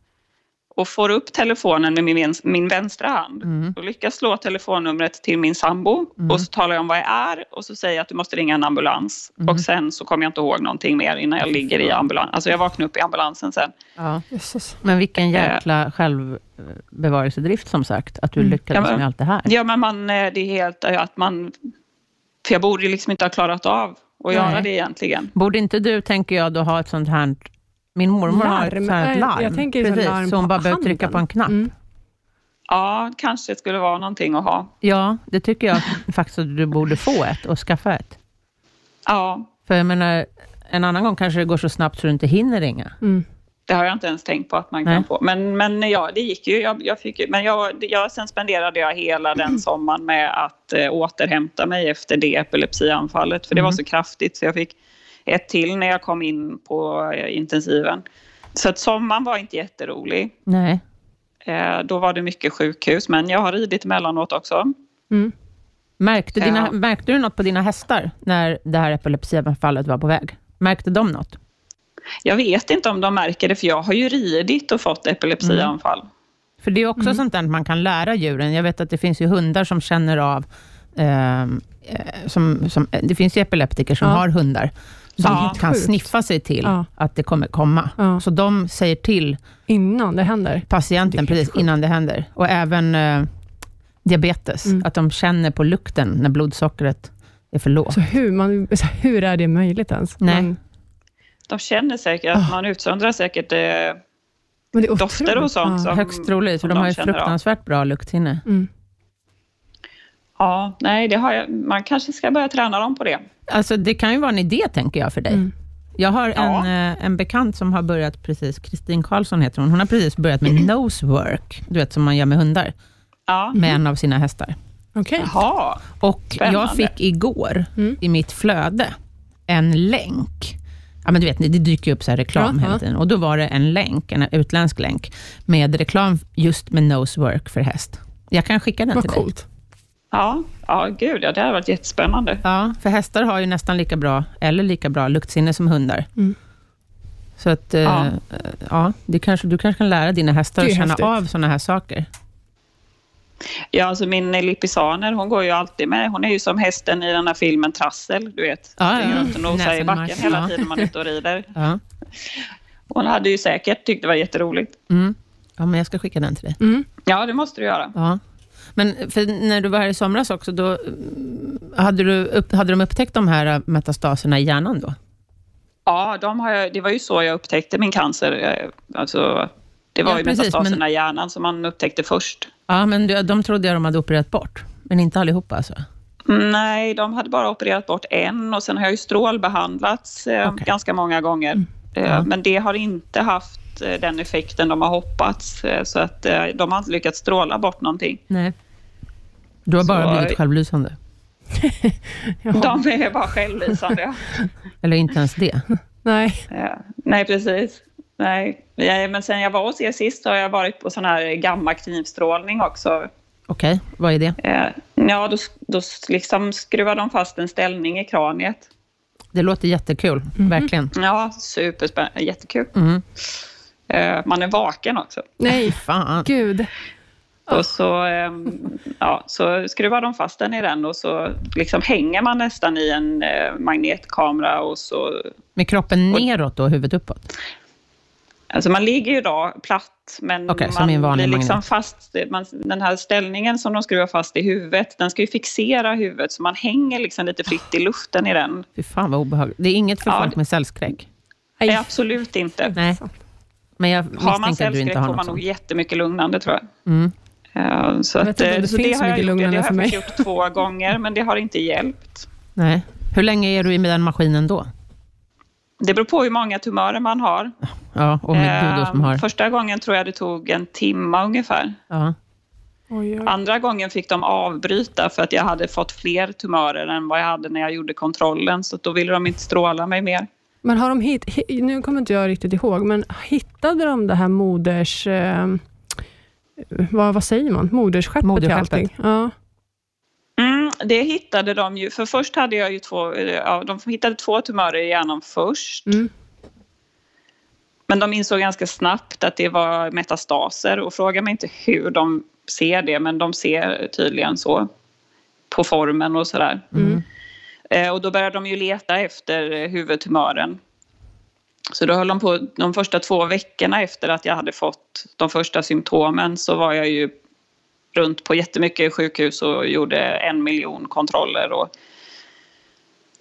Speaker 3: och får upp telefonen med min, vän- min vänstra hand.
Speaker 1: mm,
Speaker 3: Och lyckas slå telefonnumret till min sambo
Speaker 1: Mm.
Speaker 3: och så talar jag om vad jag är och så säger jag att du måste ringa en ambulans.
Speaker 1: Mm.
Speaker 3: Och sen så kommer jag inte ihåg någonting mer innan jag ligger i ambulansen. Alltså jag vaknar upp i ambulansen sen.
Speaker 1: ja.
Speaker 2: Jösses.
Speaker 1: Men
Speaker 3: Eh.
Speaker 1: vilken jäkla självbevarelsedrift som sagt, att du
Speaker 2: Mm.
Speaker 1: lyckades
Speaker 3: Ja, men-
Speaker 1: med allt det här.
Speaker 3: Ja, men man, eh, det är helt eh, att man... För jag borde ju liksom inte ha klarat av att göra
Speaker 1: Nej.
Speaker 3: det egentligen.
Speaker 1: Borde inte du, tänker jag, då ha ett sånt här... Min mormor har
Speaker 2: Larm.
Speaker 1: ett sånt här
Speaker 2: Nej,
Speaker 1: larm.
Speaker 2: jag tänker så
Speaker 1: Precis,
Speaker 2: larm
Speaker 1: så hon
Speaker 2: på
Speaker 1: bara behöver
Speaker 2: handen.
Speaker 1: trycka på en knapp.
Speaker 2: Mm.
Speaker 3: Ja, kanske det skulle vara någonting att ha.
Speaker 1: Ja, det tycker jag faktiskt att du borde få ett och skaffa ett.
Speaker 3: Ja,
Speaker 1: För jag menar, en annan gång kanske det går så snabbt så du inte hinner ringa.
Speaker 2: Mm.
Speaker 3: det har jag inte ens tänkt på att man kan
Speaker 1: Nej.
Speaker 3: få. Men, men ja, det gick ju. Jag, jag fick ju men jag, jag, sen spenderade jag hela
Speaker 1: Mm.
Speaker 3: den sommaren med att eh, återhämta mig efter det epilepsianfallet. För det var
Speaker 1: Mm.
Speaker 3: så kraftigt så jag fick ett till när jag kom in på eh, intensiven. Så att sommaren var inte jätterolig.
Speaker 1: Nej.
Speaker 3: Eh, då var det mycket sjukhus, men jag har ridit emellanåt också.
Speaker 2: Mm.
Speaker 1: Märkte, dina,
Speaker 3: Ja.
Speaker 1: märkte du något på dina hästar när det här epilepsianfallet var på väg? Märkte de något?
Speaker 3: Jag vet inte om de märker det, för jag har ju ridit och fått epilepsianfall.
Speaker 1: Mm. För det är
Speaker 2: Mm.
Speaker 1: också sånt där man kan lära djuren. Jag vet att det finns ju hundar som känner av... ehm, Eh, som, som, eh, det finns ju epileptiker som
Speaker 2: Ja.
Speaker 1: har hundar som
Speaker 3: Ja.
Speaker 1: kan
Speaker 2: Sjukt.
Speaker 1: sniffa sig till
Speaker 2: Ja.
Speaker 1: att det kommer komma.
Speaker 2: Ja.
Speaker 1: Så de säger till
Speaker 2: Innan det händer. Det är
Speaker 1: patienten
Speaker 2: helt
Speaker 1: precis
Speaker 2: sjukt.
Speaker 1: innan det händer. Och även eh, diabetes,
Speaker 2: Mm.
Speaker 1: att de känner på lukten när blodsockret är för lågt.
Speaker 2: Så hur, man, så hur är det möjligt ens?
Speaker 1: Nej.
Speaker 2: Men,
Speaker 3: De känner säkert,
Speaker 2: Ah.
Speaker 3: man utsöndrar säkert eh,
Speaker 2: men det är
Speaker 3: Dofter
Speaker 2: otroligt.
Speaker 3: och sånt som-
Speaker 1: Högst troligt, för
Speaker 3: som
Speaker 1: de
Speaker 3: de
Speaker 1: har ju
Speaker 3: känner av.
Speaker 1: fruktansvärt bra luktsinne.
Speaker 2: Mm.
Speaker 3: Ja, nej, det har jag, man kanske ska börja träna dem på det.
Speaker 1: Alltså, det kan ju vara en idé, tänker jag, för dig.
Speaker 2: Mm.
Speaker 1: Jag har
Speaker 3: Ja.
Speaker 1: en, eh, en bekant som har börjat precis, Kristin Karlsson heter hon, hon har precis börjat
Speaker 2: Mm.
Speaker 1: med nosework, du vet som man gör med hundar,
Speaker 3: Ja.
Speaker 1: med
Speaker 2: Mm.
Speaker 1: en av sina hästar.
Speaker 2: Okej.
Speaker 3: Jaha,
Speaker 1: Och
Speaker 3: Spännande.
Speaker 1: jag fick igår
Speaker 2: Mm.
Speaker 1: i mitt flöde en länk. Ja, men du vet, det dyker ju upp så här reklam
Speaker 2: Ja, ja.
Speaker 1: hela tiden. Och då var det en länk, en utländsk länk, med reklam just med nosework för häst. Jag kan skicka den
Speaker 2: Vad
Speaker 1: till dig.
Speaker 2: coolt.
Speaker 3: ja, ja gud, ja, det hade varit jättespännande.
Speaker 1: Ja, för hästar har ju nästan lika bra, eller lika bra, luktsinne som hundar.
Speaker 2: Mm.
Speaker 1: Så att, eh,
Speaker 3: Ja.
Speaker 1: ja. det kanske, du kanske kan lära dina hästar
Speaker 2: Det är
Speaker 1: att känna
Speaker 2: häftigt.
Speaker 1: av sådana här saker.
Speaker 3: Ja, alltså min lippisaner, hon går ju alltid med. Hon är ju som hästen i den här filmen Trassel, du vet.
Speaker 1: Ja, ja,
Speaker 3: Springer
Speaker 1: ja.
Speaker 3: runt och nosar
Speaker 1: Näsan
Speaker 3: i
Speaker 1: i
Speaker 3: backen
Speaker 1: marken,
Speaker 3: hela
Speaker 1: ja.
Speaker 3: tiden man är ute och rider.
Speaker 1: Ja.
Speaker 3: Hon hade ju säkert tyckt det var jätteroligt.
Speaker 1: Mm. ja, men jag ska skicka den till dig.
Speaker 2: Mm.
Speaker 3: Ja, det måste du göra.
Speaker 1: Ja. Men för när du var här i somras också, då mm, hade, du upp, hade de upptäckt de här eh, metastaserna i hjärnan då?
Speaker 3: Ja, de har jag, det var ju så jag upptäckte min cancer. eh, Alltså, det var
Speaker 1: Ja,
Speaker 3: ju
Speaker 1: precis,
Speaker 3: metastaserna
Speaker 1: men-
Speaker 3: i hjärnan som man upptäckte först.
Speaker 1: Ja, men du, de trodde jag de hade opererat bort, men inte allihopa alltså?
Speaker 3: Nej, de hade bara opererat bort en och sen har jag ju strålbehandlats eh,
Speaker 1: Okej. Mm.
Speaker 3: ganska många gånger. Eh,
Speaker 1: Ja.
Speaker 3: Men det har inte haft eh, den effekten de har hoppats. Eh, så att eh, de har inte lyckats stråla bort någonting.
Speaker 1: Nej. Du har bara
Speaker 3: Så-
Speaker 1: blivit självlysande,
Speaker 2: Ja.
Speaker 3: De är bara självlysande.
Speaker 1: eller inte ens det.
Speaker 2: Nej.
Speaker 3: Eh, Nej, precis. Nej. Nej, men sen jag var hos er sist så har jag varit på sån här gammaknivstrålning också.
Speaker 1: Okej, vad är det?
Speaker 3: Eh, Ja, då, då liksom skruvar de fast en ställning i kraniet.
Speaker 1: Mhm. Det låter jättekul, verkligen.
Speaker 3: Ja, superspännande. Jättekul.
Speaker 1: Mm.
Speaker 3: Eh, Man är vaken också.
Speaker 2: Nej,
Speaker 1: Fan.
Speaker 2: gud.
Speaker 3: Och så, ehm, ja, så skruvar de fast den i den och så liksom hänger man nästan i en eh, magnetkamera och så...
Speaker 1: Med kroppen neråt och huvudet uppåt?
Speaker 3: Alltså man ligger ju då platt men
Speaker 1: Okej, som i en
Speaker 3: man
Speaker 1: vanlig
Speaker 3: blir liksom
Speaker 1: magnet.
Speaker 3: fast... Man, den här ställningen som de skruvar fast i huvudet, den ska ju fixera huvudet så man hänger liksom lite fritt i luften i den.
Speaker 1: Fy fan vad obehagligt. Det är inget för
Speaker 3: Ja,
Speaker 1: folk
Speaker 3: det-
Speaker 1: med cellskräck?
Speaker 2: Aj.
Speaker 3: Nej, absolut inte.
Speaker 1: Nej. Men jag
Speaker 3: Har
Speaker 1: misstänker att
Speaker 3: man
Speaker 1: du
Speaker 3: cellskräck
Speaker 1: inte har
Speaker 3: får
Speaker 1: något
Speaker 3: man nog
Speaker 1: sånt.
Speaker 3: jättemycket lugnande tror jag.
Speaker 1: Mm.
Speaker 3: Eh, Så,
Speaker 2: Jag vet
Speaker 3: att,
Speaker 2: inte om
Speaker 3: eh,
Speaker 2: det
Speaker 3: så
Speaker 2: finns
Speaker 3: det
Speaker 2: så
Speaker 3: har jag
Speaker 2: mycket
Speaker 3: gjort, det har
Speaker 2: lugnande
Speaker 3: jag
Speaker 2: för mig.
Speaker 3: faktiskt gjort två gånger men det har inte hjälpt.
Speaker 1: Nej. Hur länge är du i den maskinen då?
Speaker 3: Det beror på hur många tumörer man har.
Speaker 1: Ja, och med gud och som
Speaker 3: Eh,
Speaker 1: har...
Speaker 3: Första gången tror jag det tog en timma ungefär.
Speaker 1: Ja.
Speaker 2: Oj, oj.
Speaker 3: Andra gången fick de avbryta för att jag hade fått fler tumörer än vad jag hade när jag gjorde kontrollen. Så att då ville de inte stråla mig mer.
Speaker 2: Men har de hit, hi- nu kommer inte jag riktigt ihåg, men hittade de det här moders... Eh, vad, vad säger man? Modersskeppet till
Speaker 1: Moderskeppet.
Speaker 2: allting? Ja.
Speaker 3: Mm, det hittade de ju. För först hade jag ju två... eh, Ja, de hittade två tumörer i hjärnan först.
Speaker 2: Mm.
Speaker 3: Men de insåg ganska snabbt att det var metastaser och fråga mig inte hur de ser det, men de ser tydligen så på formen och sådär.
Speaker 2: Mm.
Speaker 3: Eh, Och då började de ju leta efter eh, huvudtumören. Så då höll de på, de första två veckorna efter att jag hade fått de första symptomen så var jag ju runt på jättemycket sjukhus och gjorde en miljon kontroller. Och,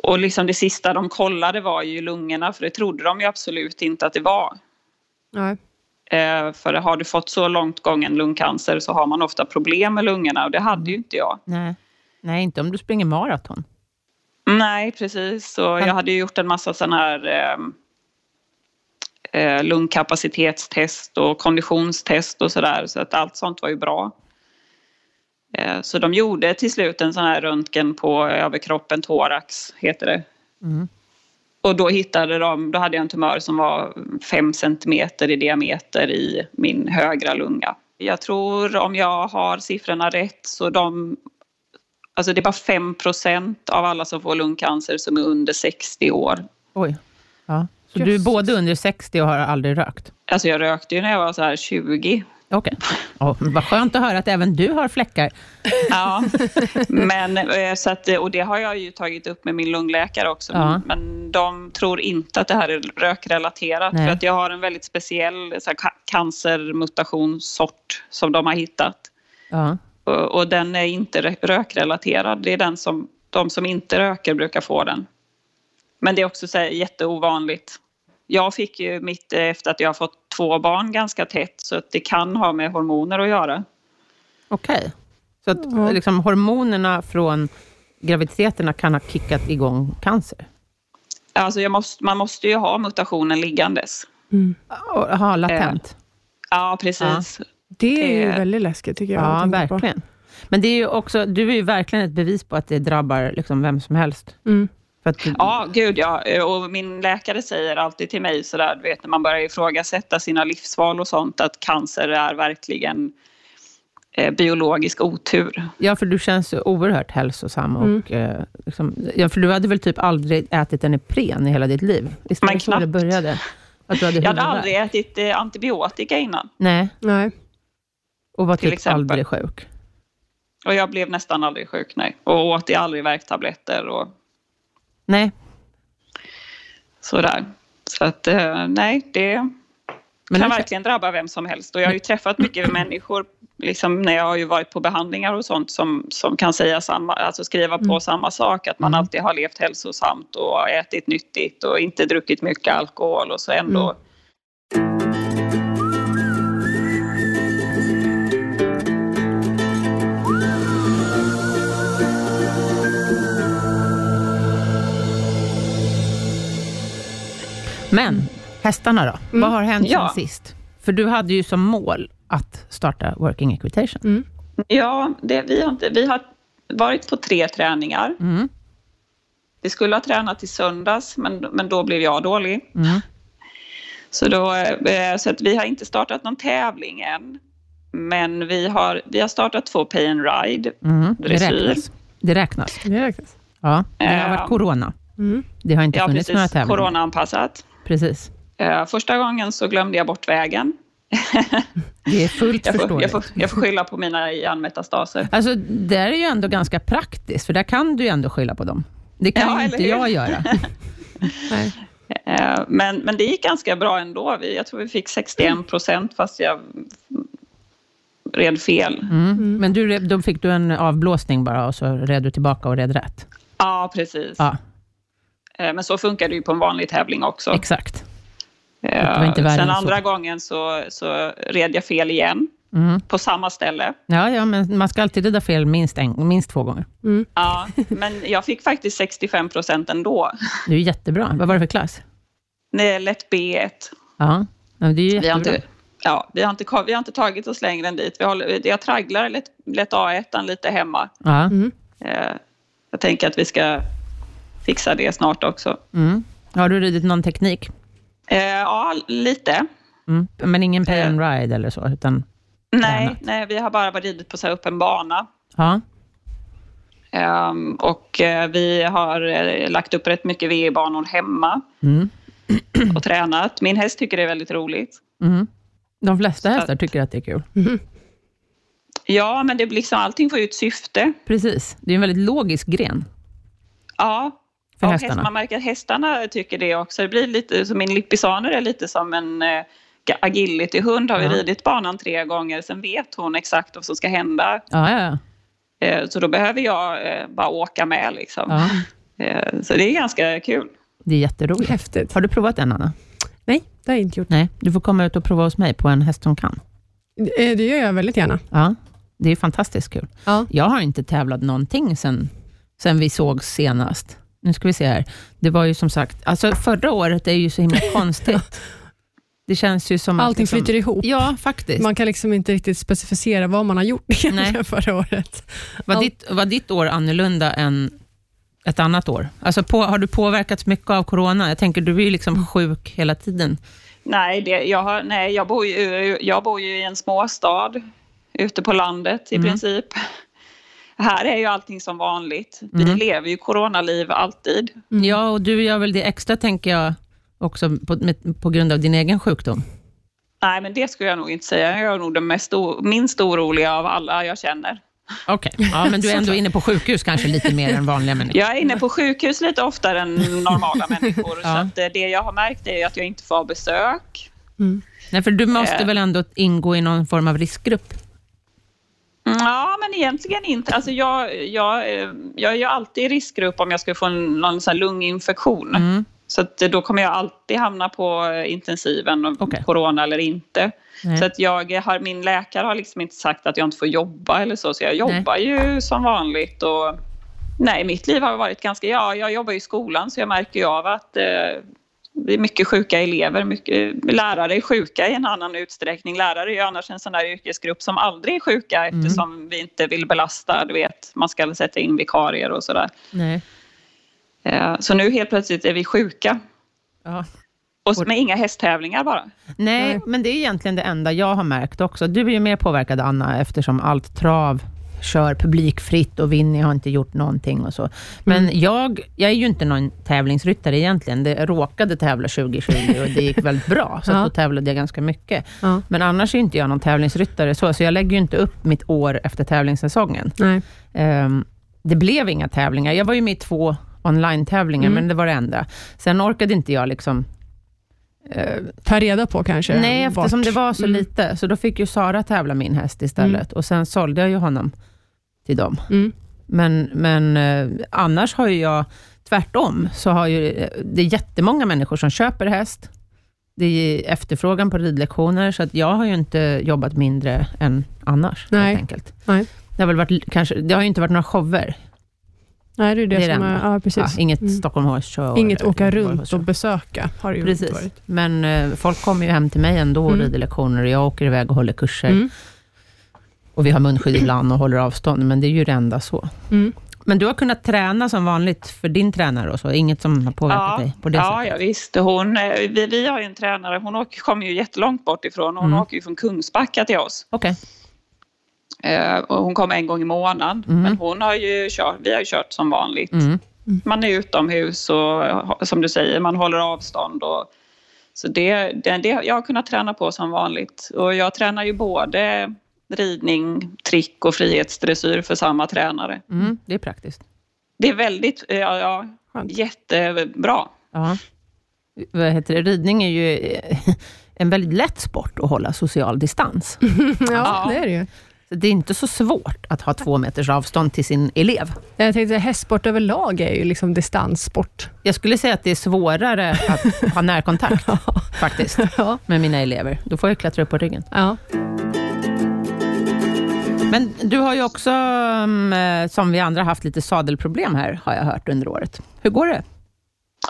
Speaker 3: och liksom det sista de kollade var ju lungorna för det trodde de ju absolut inte att det var.
Speaker 2: Nej.
Speaker 3: Eh, För har du fått så långt gången lungcancer så har man ofta problem med lungorna och det hade ju inte jag.
Speaker 1: Nej. Nej, inte om du springer maraton.
Speaker 3: Nej, precis. Och jag hade ju gjort en massa sådana här ehm, eh, eh, lungkapacitetstest och konditionstest och sådär. Så att allt sånt var ju bra. Eh, så de gjorde till slut en sån här röntgen på överkroppen, thorax heter det.
Speaker 1: Mm.
Speaker 3: Och då hittade de, då hade jag en tumör som var 5 centimeter i diameter i min högra lunga. Jag tror, om jag har siffrorna rätt, så de... Alltså det är bara 5 av alla som får lungcancer som är under 60 år.
Speaker 1: Oj. Ja. Så du är
Speaker 2: Jösses.
Speaker 1: både under 60 och har aldrig rökt?
Speaker 3: Alltså jag rökte ju när jag var så här 20.
Speaker 1: Okej. Ja, vad skönt att höra att även du har fläckar.
Speaker 3: Ja, men eh, så att, och det har jag ju tagit upp med min lungläkare också.
Speaker 1: Ja.
Speaker 3: Men de tror inte att det här är rökrelaterat.
Speaker 1: Nej.
Speaker 3: För att jag har en väldigt speciell så här, ca- cancermutationssort som de har hittat.
Speaker 1: Ja.
Speaker 3: Och, och den är inte rö- rökrelaterad. Det är den som de som inte röker brukar få den. Men det är också så här, jätteovanligt. Jag fick ju mitt eh, efter att jag har fått två barn ganska tätt så att det kan ha med hormoner att göra.
Speaker 1: Okej. Så att liksom, hormonerna från graviditeterna kan ha kickat igång cancer?
Speaker 3: Alltså jag måste, man måste ju ha mutationen liggandes.
Speaker 2: Mm.
Speaker 1: Och ha
Speaker 3: Ehm.
Speaker 1: latent?
Speaker 3: Ja, precis.
Speaker 2: Det är ju
Speaker 3: Det-
Speaker 2: väldigt läskigt tycker jag. att
Speaker 1: Eh, ja,
Speaker 2: tänka på.
Speaker 1: verkligen. Men det är ju också, du är ju verkligen ett bevis på att det drabbar liksom vem som helst.
Speaker 2: Mm.
Speaker 1: För att du,
Speaker 3: Ja, gud ja. Och min läkare säger alltid till mig sådär, du vet när man börjar ifrågasätta sina livsval och sånt, att cancer är verkligen eh, biologisk otur.
Speaker 1: ja, för du känns ju oerhört hälsosam. Och,
Speaker 3: Mm.
Speaker 1: eh, liksom, ja, för du hade väl typ aldrig ätit en Ipren i hela ditt liv? Visst var
Speaker 3: Men
Speaker 1: det så det
Speaker 3: knappt.
Speaker 1: började? Att du hade
Speaker 3: Jag hade
Speaker 1: huvudvärk?
Speaker 3: aldrig ätit eh, antibiotika innan.
Speaker 1: Nej,
Speaker 2: Nej.
Speaker 1: och var
Speaker 3: Till
Speaker 1: typ
Speaker 3: exempel.
Speaker 1: aldrig sjuk.
Speaker 3: Och jag blev nästan aldrig sjuk, nej. Och åt ju aldrig värktabletter och
Speaker 1: Nej,
Speaker 3: sådär. Så att eh, nej, det
Speaker 1: Men alltså-
Speaker 3: kan
Speaker 1: nu-
Speaker 3: verkligen drabba vem som helst. Och jag har ju träffat mycket människor, liksom, när jag har ju varit på behandlingar och sånt, som, som kan säga samma, alltså skriva på samma sak. Att man alltid har levt hälsosamt och har ätit nyttigt och inte druckit mycket alkohol och så ändå.
Speaker 1: Men hästarna då? Vad har hänt
Speaker 3: Mm. Ja.
Speaker 1: sen sist? För du hade ju som mål att starta Working Equitation.
Speaker 2: Mm.
Speaker 3: Ja, det, vi, har inte, vi har varit på tre träningar.
Speaker 1: Mm.
Speaker 3: Vi skulle ha tränat i söndags, men, men då blev jag dålig.
Speaker 1: Mm.
Speaker 3: Så, då, eh, så att vi har inte startat någon tävling än. Men vi har, vi har startat två pay and ride.
Speaker 1: Mm. Det
Speaker 3: Dressyr.
Speaker 1: räknas. Det räknas.
Speaker 2: Det räknas.
Speaker 1: Ja. Det har
Speaker 3: Eh.
Speaker 1: varit corona.
Speaker 2: Mm.
Speaker 1: Det har inte
Speaker 3: Ja,
Speaker 1: funnits några
Speaker 3: precis.
Speaker 1: tävlingar.
Speaker 3: Coronaanpassat.
Speaker 1: Precis.
Speaker 3: Eh, Första gången så glömde jag bort vägen.
Speaker 1: Det är fullt
Speaker 3: Jag får,
Speaker 1: förståeligt.
Speaker 3: jag, får, jag får skylla på mina hjärnmetastaser.
Speaker 1: Alltså, det är ju ändå ganska praktiskt, för där kan du ju ändå skylla på dem. Det kan
Speaker 3: Ja,
Speaker 1: ju
Speaker 3: eller
Speaker 1: inte
Speaker 3: hur?
Speaker 1: jag göra.
Speaker 2: Nej.
Speaker 3: Eh, Men, men det gick ganska bra ändå. Vi- Jag tror vi fick 61 procent fast jag red fel.
Speaker 1: Mm. Men du, då fick du en avblåsning bara och så red du tillbaka och red rätt.
Speaker 3: Ja, precis.
Speaker 1: Ja,
Speaker 3: Eh, Men så funkar det ju på en vanlig tävling också.
Speaker 1: exakt.
Speaker 3: Eh,
Speaker 1: det var inte värre än
Speaker 3: Sen
Speaker 1: så.
Speaker 3: andra gången så, så red jag fel igen
Speaker 1: Mm.
Speaker 3: på samma ställe.
Speaker 1: Ja, ja, men man ska alltid rida fel minst, en, minst två gånger.
Speaker 3: Ja, men jag fick faktiskt 65 procent ändå.
Speaker 1: Det är ju jättebra. Vad var det för klass?
Speaker 3: Det är lätt B1.
Speaker 1: Ja, ja, det är ju
Speaker 3: Vi har,
Speaker 1: jättebra.
Speaker 3: inte, ja, vi, har inte, kom- vi har inte tagit oss längre än dit. Vi håller, jag tragglar lätt, lätt A1 lite hemma.
Speaker 1: Ja.
Speaker 3: Eh, jag tänker att vi ska fixa det snart också.
Speaker 1: Mm. Har du ridit någon teknik?
Speaker 3: Eh, ja, lite.
Speaker 1: Mm. Men ingen
Speaker 3: Eh.
Speaker 1: pay and ride eller så? Utan,
Speaker 3: Nej,
Speaker 1: Tränat.
Speaker 3: nej, vi har bara varit ridit på så här öppen bana.
Speaker 1: ja.
Speaker 3: Ehm, och eh, vi har eh, lagt upp rätt mycket VE-banor hemma
Speaker 1: Mm.
Speaker 3: och tränat. Min häst tycker det är väldigt roligt.
Speaker 1: Mm. De flesta hästar tycker att det är kul.
Speaker 3: Ja, men det blir liksom, allting får ju ett syfte.
Speaker 1: Precis. Det är en väldigt logisk gren.
Speaker 3: Ja.
Speaker 1: För
Speaker 3: och
Speaker 1: hästarna.
Speaker 3: Häst, man märker att hästarna tycker det också. Det blir lite, så min lippisaner är lite som en eh, agility-hund. Har vi
Speaker 1: Ja.
Speaker 3: ridit banan tre gånger, sen vet hon exakt vad som ska hända.
Speaker 1: Ja, ja, ja.
Speaker 3: Eh, så då behöver jag eh, bara åka med liksom.
Speaker 1: ja.
Speaker 3: Eh, så det är ganska kul.
Speaker 1: Det är jätteroligt.
Speaker 2: Häftigt.
Speaker 1: Har du provat en, Anna?
Speaker 2: Nej, det har jag inte gjort.
Speaker 1: Nej, du får komma ut och prova hos mig på en häst som kan.
Speaker 2: Eh, Det gör jag väldigt gärna.
Speaker 1: Ja, det är fantastiskt kul.
Speaker 2: Ja.
Speaker 1: Jag har inte tävlat någonting sen, sen vi såg senast. Nu ska vi se här. Det var ju som sagt, alltså förra året är ju så himla konstigt. Det känns ju som
Speaker 2: Allting
Speaker 1: liksom-
Speaker 2: flyter ihop.
Speaker 1: Ja, faktiskt.
Speaker 2: Man kan liksom inte riktigt specificera vad man har gjort egentligen förra året.
Speaker 1: Var
Speaker 2: Allt-
Speaker 1: ditt, var ditt år annorlunda än ett annat år? Alltså på, har du påverkats mycket av corona? Jag tänker, du är ju
Speaker 2: Mm.
Speaker 1: liksom sjuk hela tiden.
Speaker 3: Nej, det, jag, har, nej jag, bor ju, jag bor ju i en småstad ute på landet
Speaker 1: Mm.
Speaker 3: i princip. Här är ju allting som vanligt. Vi
Speaker 1: Mm.
Speaker 3: lever ju coronaliv alltid.
Speaker 1: Ja, och du gör väl det extra, tänker jag, också på, med, på grund av din egen sjukdom.
Speaker 3: Nej, men det skulle jag nog inte säga. Jag är nog den mest o, minst oroliga av alla jag känner.
Speaker 1: Okej, ja, men du är ändå inne på sjukhus kanske lite mer än vanliga människor.
Speaker 3: Jag är inne på sjukhus lite oftare än normala människor. Så
Speaker 1: Ja.
Speaker 3: att eh, det jag har märkt är ju att jag inte får ha besök.
Speaker 2: Mm.
Speaker 1: Nej, för du måste
Speaker 3: Eh.
Speaker 1: väl ändå ingå i någon form av riskgrupp?
Speaker 3: Mm, Ja, men egentligen inte. Alltså jag, jag, eh, jag är ju alltid i riskgrupp om jag skulle få en, någon sån här lunginfektion.
Speaker 1: Mm.
Speaker 3: Så att eh, då kommer jag alltid hamna på eh, intensiven, om
Speaker 1: Okej.
Speaker 3: corona eller inte.
Speaker 1: Nej.
Speaker 3: Så att jag har, min läkare har liksom inte sagt att jag inte får jobba eller så, så jag jobbar ju som vanligt. Och, nej, mitt liv har varit ganska... Ja, jag jobbar ju i skolan så jag märker ju av att eh, det är mycket sjuka elever. Mycket, eh, lärare är sjuka i en annan utsträckning. Lärare är ju annars en sån där yrkesgrupp som aldrig är sjuka
Speaker 1: Mm.
Speaker 3: eftersom vi inte vill belasta, du vet, man ska sätta in vikarier och sådär.
Speaker 1: Nej.
Speaker 3: Eh, så nu helt plötsligt är vi sjuka.
Speaker 1: Ja.
Speaker 3: Och med inga hästtävlingar bara.
Speaker 1: Nej, men det är egentligen det enda jag har märkt också. Du är ju mer påverkad, Anna, eftersom allt trav kör publikfritt och Winnie har inte gjort någonting och så. Men
Speaker 2: Mm.
Speaker 1: jag, jag är ju inte någon tävlingsryttare egentligen. Det jag råkade tävla 2020 och det gick väldigt bra, så
Speaker 2: Ja.
Speaker 1: att då tävlade jag ganska mycket.
Speaker 2: Ja.
Speaker 1: Men annars är ju inte jag någon tävlingsryttare, så, så jag lägger ju inte upp mitt år efter tävlingssäsongen.
Speaker 2: Nej.
Speaker 1: Ehm, det blev inga tävlingar. Jag var ju med i två online-tävlingar,
Speaker 2: Mm.
Speaker 1: men det var det enda. Sen orkade inte jag liksom... eh,
Speaker 2: Ta reda på kanske.
Speaker 1: nej, eftersom
Speaker 2: vart-
Speaker 1: det var så
Speaker 2: Mm.
Speaker 1: lite, så då fick ju Sara tävla min häst istället. Och sen sålde jag ju honom till dem.
Speaker 2: Mm.
Speaker 1: Men, men eh, annars har ju jag, tvärtom, så har ju eh, det är jättemånga människor som köper häst. Det är efterfrågan på ridlektioner, så att jag har ju inte jobbat mindre än annars.
Speaker 2: Nej.
Speaker 1: Helt enkelt.
Speaker 2: Nej.
Speaker 1: Det, har väl varit, kanske, det har ju inte varit några shower.
Speaker 2: Nej, det är det,
Speaker 1: Det är
Speaker 2: som
Speaker 1: det
Speaker 2: är... Ja,
Speaker 1: Ja,
Speaker 2: precis.
Speaker 1: inget
Speaker 2: Mm.
Speaker 1: Stockholm Horse Show.
Speaker 2: Inget
Speaker 1: eller
Speaker 2: åka
Speaker 1: Göteborg
Speaker 2: runt
Speaker 1: Horse
Speaker 2: och
Speaker 1: Show.
Speaker 2: besöka har det ju inte
Speaker 1: Precis,
Speaker 2: varit.
Speaker 1: men eh, folk kommer ju hem till mig ändå och
Speaker 2: Mm.
Speaker 1: rider lektioner och jag åker iväg och håller kurser.
Speaker 2: Mm.
Speaker 1: Och vi har munskydd ibland och håller avstånd, men det är ju det enda så.
Speaker 2: Mm.
Speaker 1: Men du har kunnat träna som vanligt för din tränare och så? Inget som har påverkat dig på det
Speaker 3: ja,
Speaker 1: sättet?
Speaker 3: ja visst. Hon, eh, vi, vi har ju en tränare, hon åker, kommer ju jättelångt bort ifrån. Hon
Speaker 1: Mm.
Speaker 3: åker ju från Kungsbacka till oss.
Speaker 1: Okej.
Speaker 3: Eh, och hon kommer en gång i månaden.
Speaker 1: Mm.
Speaker 3: Men hon har ju kört, vi har ju kört som vanligt.
Speaker 1: Mm.
Speaker 3: Man är utomhus och eh, som du säger, man håller avstånd och Så det, det, det jag har kunnat träna på som vanligt. Och jag tränar ju både ridning, trick och frihetsdressyr för samma tränare.
Speaker 1: Mm, det är praktiskt.
Speaker 3: Det är väldigt, eh, ja, ja
Speaker 2: Skönt.
Speaker 3: jättebra.
Speaker 1: Ja. Vad heter det? Ridning är ju eh, en väldigt lätt sport att hålla social distans.
Speaker 2: Ja,
Speaker 3: Ja.
Speaker 2: det är det ju.
Speaker 1: Så Det är inte så svårt att ha två meters avstånd till sin elev.
Speaker 2: Jag tänkte hästsport överlag är ju liksom distanssport.
Speaker 1: Jag skulle säga att det är svårare att ha närkontakt faktiskt
Speaker 2: Ja.
Speaker 1: med mina elever. Då får jag klättra upp på ryggen.
Speaker 2: Ja.
Speaker 1: Men du har ju också, mm, som vi andra, haft lite sadelproblem här, har jag hört under året. Hur går det?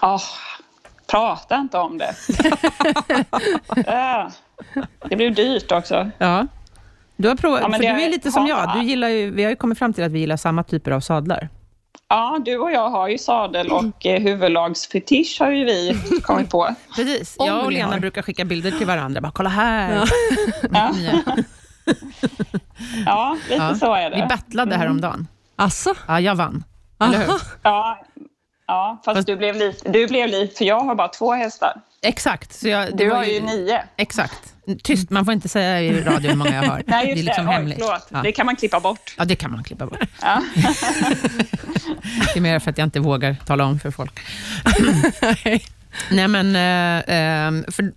Speaker 3: Ah, prata inte om det. Ah, det blev dyrt också.
Speaker 1: Ja. Du har provat,
Speaker 3: Ja, men
Speaker 1: för
Speaker 3: det-
Speaker 1: du är lite som
Speaker 3: ja.
Speaker 1: jag. Du gillar ju, vi har ju kommit fram till att vi gillar samma typer av sadlar.
Speaker 3: Ja, du och jag har ju sadel och eh, huvudlagsfetisch har ju vi kommit på.
Speaker 1: Precis.
Speaker 2: Om
Speaker 1: jag och
Speaker 2: ni
Speaker 1: Lena
Speaker 2: har.
Speaker 1: brukar skicka bilder till varandra. Bara, kolla här!
Speaker 3: Ja, ja lite
Speaker 1: Ja.
Speaker 3: så är
Speaker 1: Vi
Speaker 3: det.
Speaker 1: battlade häromdagen.
Speaker 2: Alltså?
Speaker 1: Ja, jag vann. Eller hur?
Speaker 2: Aha.
Speaker 3: Ja, ja fast du blev lite, du blev lite, för jag har bara två hästar.
Speaker 1: Exakt. Så jag, det
Speaker 3: Du
Speaker 1: var
Speaker 3: har ju nio.
Speaker 1: Exakt. Tyst, man får inte säga i radio hur många jag har.
Speaker 3: Nej, just
Speaker 1: det
Speaker 3: det.
Speaker 1: är liksom
Speaker 3: Oj,
Speaker 1: hemligt.
Speaker 3: förlåt.
Speaker 1: Ja.
Speaker 3: Det kan man klippa bort.
Speaker 1: ja, det kan man klippa bort.
Speaker 3: Ja.
Speaker 1: Det är mer för att jag inte vågar tala om för folk. Nej, men, eh, eh, för,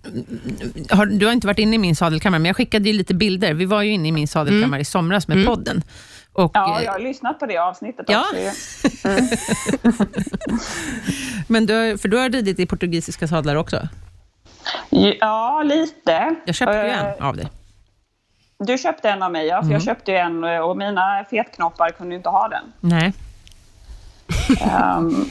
Speaker 1: har, du har inte varit inne i min sadelkammare, men jag skickade ju lite bilder. Vi var ju inne i min sadelkammare i somras med podden. Och,
Speaker 3: Mm. Ja,
Speaker 1: eh,
Speaker 3: jag har lyssnat på det avsnittet
Speaker 1: Ja.
Speaker 3: också. ju.
Speaker 1: Men du, har- för du har ridit i portugisiska sadlar också.
Speaker 3: Ja, lite.
Speaker 1: Jag köpte ju
Speaker 3: Eh,
Speaker 1: en Mm. av dig.
Speaker 3: Du köpte en av mig, ja. För Jag köpte ju en eh, och mina fetknoppar kunde ju inte ha den.
Speaker 1: Nej.
Speaker 3: Ehm,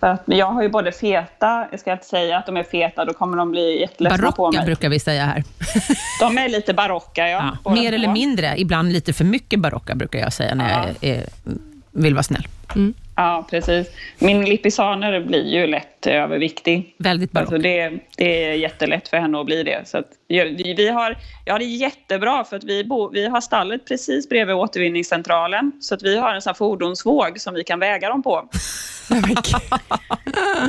Speaker 3: för att jag har ju både feta, jag ska inte säga att de är feta, då kommer de bli jätteledsna på
Speaker 1: Barocka
Speaker 3: mig.
Speaker 1: brukar vi säga här.
Speaker 3: De är lite barocka, ja.
Speaker 1: Ja.
Speaker 3: båda
Speaker 1: Mer
Speaker 3: två.
Speaker 1: eller mindre, ibland lite för mycket barocka brukar jag säga när jag eh, vill vara snäll.
Speaker 3: Ja, precis. Min lippisaner blir ju lätt överviktig.
Speaker 1: Väldigt barock.
Speaker 3: Alltså det, det är jättelätt för henne att bli det. Så att, jag- vi, vi har, jag har det jättebra för att vi, bo, vi har stallet precis bredvid återvinningscentralen. Så att vi har en sån här fordonsvåg som vi kan väga dem på.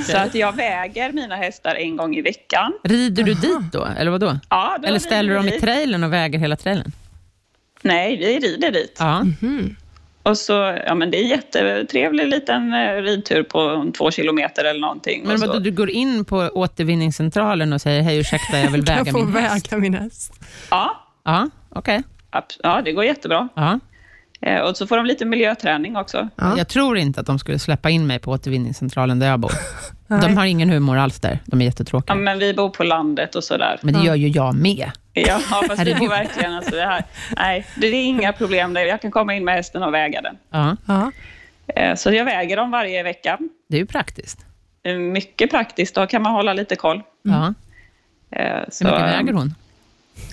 Speaker 3: Så att jag väger mina hästar en gång i veckan.
Speaker 1: Rider du dit då, eller vadå?
Speaker 3: Ja, då
Speaker 1: Eller
Speaker 3: rider
Speaker 1: ställer du dem
Speaker 3: vi.
Speaker 1: i trailern och väger hela trailern?
Speaker 3: Nej, vi rider dit.
Speaker 1: Ja.
Speaker 3: Och så, ja men det är jättetrevlig liten eh, ridtur på två kilometer eller någonting.
Speaker 1: Men
Speaker 3: Och så-
Speaker 1: vadå, du går in på återvinningscentralen och säger hej, ursäkta, jag vill
Speaker 2: Kan
Speaker 1: väga
Speaker 2: jag få
Speaker 1: min häst?
Speaker 2: väga min häst?
Speaker 3: Ja,
Speaker 1: Ja, okej.
Speaker 3: abs- ja, det går jättebra.
Speaker 1: Ja.
Speaker 3: Eh, Och så får de lite miljöträning också.
Speaker 2: Ja.
Speaker 1: Jag tror inte att de skulle släppa in mig på återvinningscentralen där jag bor. de har ingen humor alls där. De är
Speaker 3: Ja,
Speaker 1: jättetråkiga.
Speaker 3: men vi bor på landet och sådär.
Speaker 1: Men det gör ju jag med.
Speaker 3: Ja, fast vi får
Speaker 1: Herregud.
Speaker 3: verkligen alltså det här. Nej, det är inga problem. där. Jag kan komma in med hästen och väga den.
Speaker 1: Ja,
Speaker 2: Ja.
Speaker 3: Eh, Så jag väger dem varje vecka.
Speaker 1: det är ju praktiskt.
Speaker 3: Eh, Mycket praktiskt, då kan man hålla lite koll.
Speaker 1: Ja.
Speaker 3: Eh,
Speaker 1: Hur
Speaker 3: Mm. Så,
Speaker 1: mycket väger hon?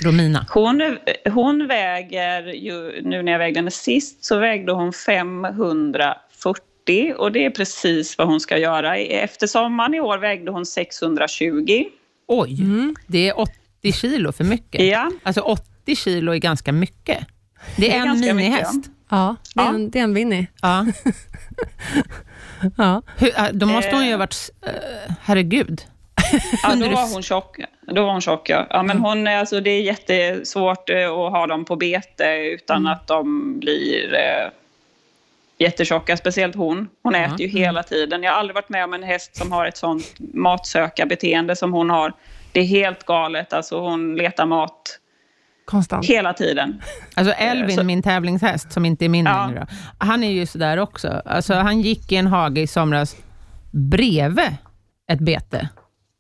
Speaker 1: Romina?
Speaker 3: Hon, eh, hon väger ju, nu när jag vägde henne sist, så vägde hon 540 och det är precis vad hon ska göra. Efter sommaren i år vägde hon 620.
Speaker 1: Oj, det är 80 kilo för mycket.
Speaker 3: Mm. Ja.
Speaker 1: Alltså 80 kilo är ganska mycket. Det är,
Speaker 3: är
Speaker 1: en
Speaker 3: ganska
Speaker 1: minihäst.
Speaker 3: mycket,
Speaker 2: Ja, det är
Speaker 3: Ja.
Speaker 2: en, det är en Winnie.
Speaker 1: Ja.
Speaker 2: Ja.
Speaker 1: Hur, äh, då måste hon ju ha
Speaker 3: Eh.
Speaker 1: varit... s- eh, herregud.
Speaker 3: Ja, då
Speaker 1: Undrar-
Speaker 3: var hon tjock. Då var hon tjock, ja. ja men hon, är- alltså, det är jättesvårt eh, att ha dem på bete utan att de blir eh, jättetjocka, speciellt hon. Hon äter ju hela tiden. Jag har aldrig varit med om en häst som har ett sånt matsökarbeteende som hon har. Det är helt galet. Alltså, hon letar mat
Speaker 2: Konstant.
Speaker 3: hela tiden.
Speaker 1: Alltså Elvin,
Speaker 3: Eh, så-
Speaker 1: min tävlingshäst, som inte är min
Speaker 3: Ja.
Speaker 1: längre, han är ju sådär också. Alltså, han gick i en hage i somras bredvid ett bete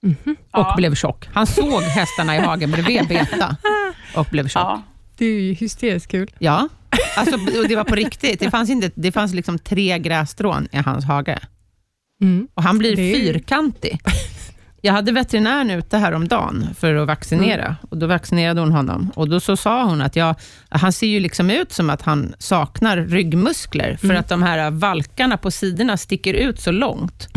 Speaker 1: och
Speaker 3: Mhm. Ja.
Speaker 1: blev tjock. Han såg hästarna i hagen bredvid beta och blev tjock. Ja.
Speaker 3: Ja.
Speaker 2: Det är ju hysteriskt kul.
Speaker 1: Alltså, och det var på riktigt. Det fanns, inte, det fanns liksom tre grässtrån i hans hage.
Speaker 2: Mm.
Speaker 1: Och han blir
Speaker 2: Det är ju-
Speaker 1: fyrkantig. Jag hade veterinären ute häromdagen för att vaccinera.
Speaker 2: Mm.
Speaker 1: Och Då vaccinerade hon honom. Och Då så sa hon att jag, han ser ju liksom ut som att han
Speaker 2: Mm.
Speaker 1: saknar ryggmuskler, för att de här valkarna på sidorna sticker ut så långt.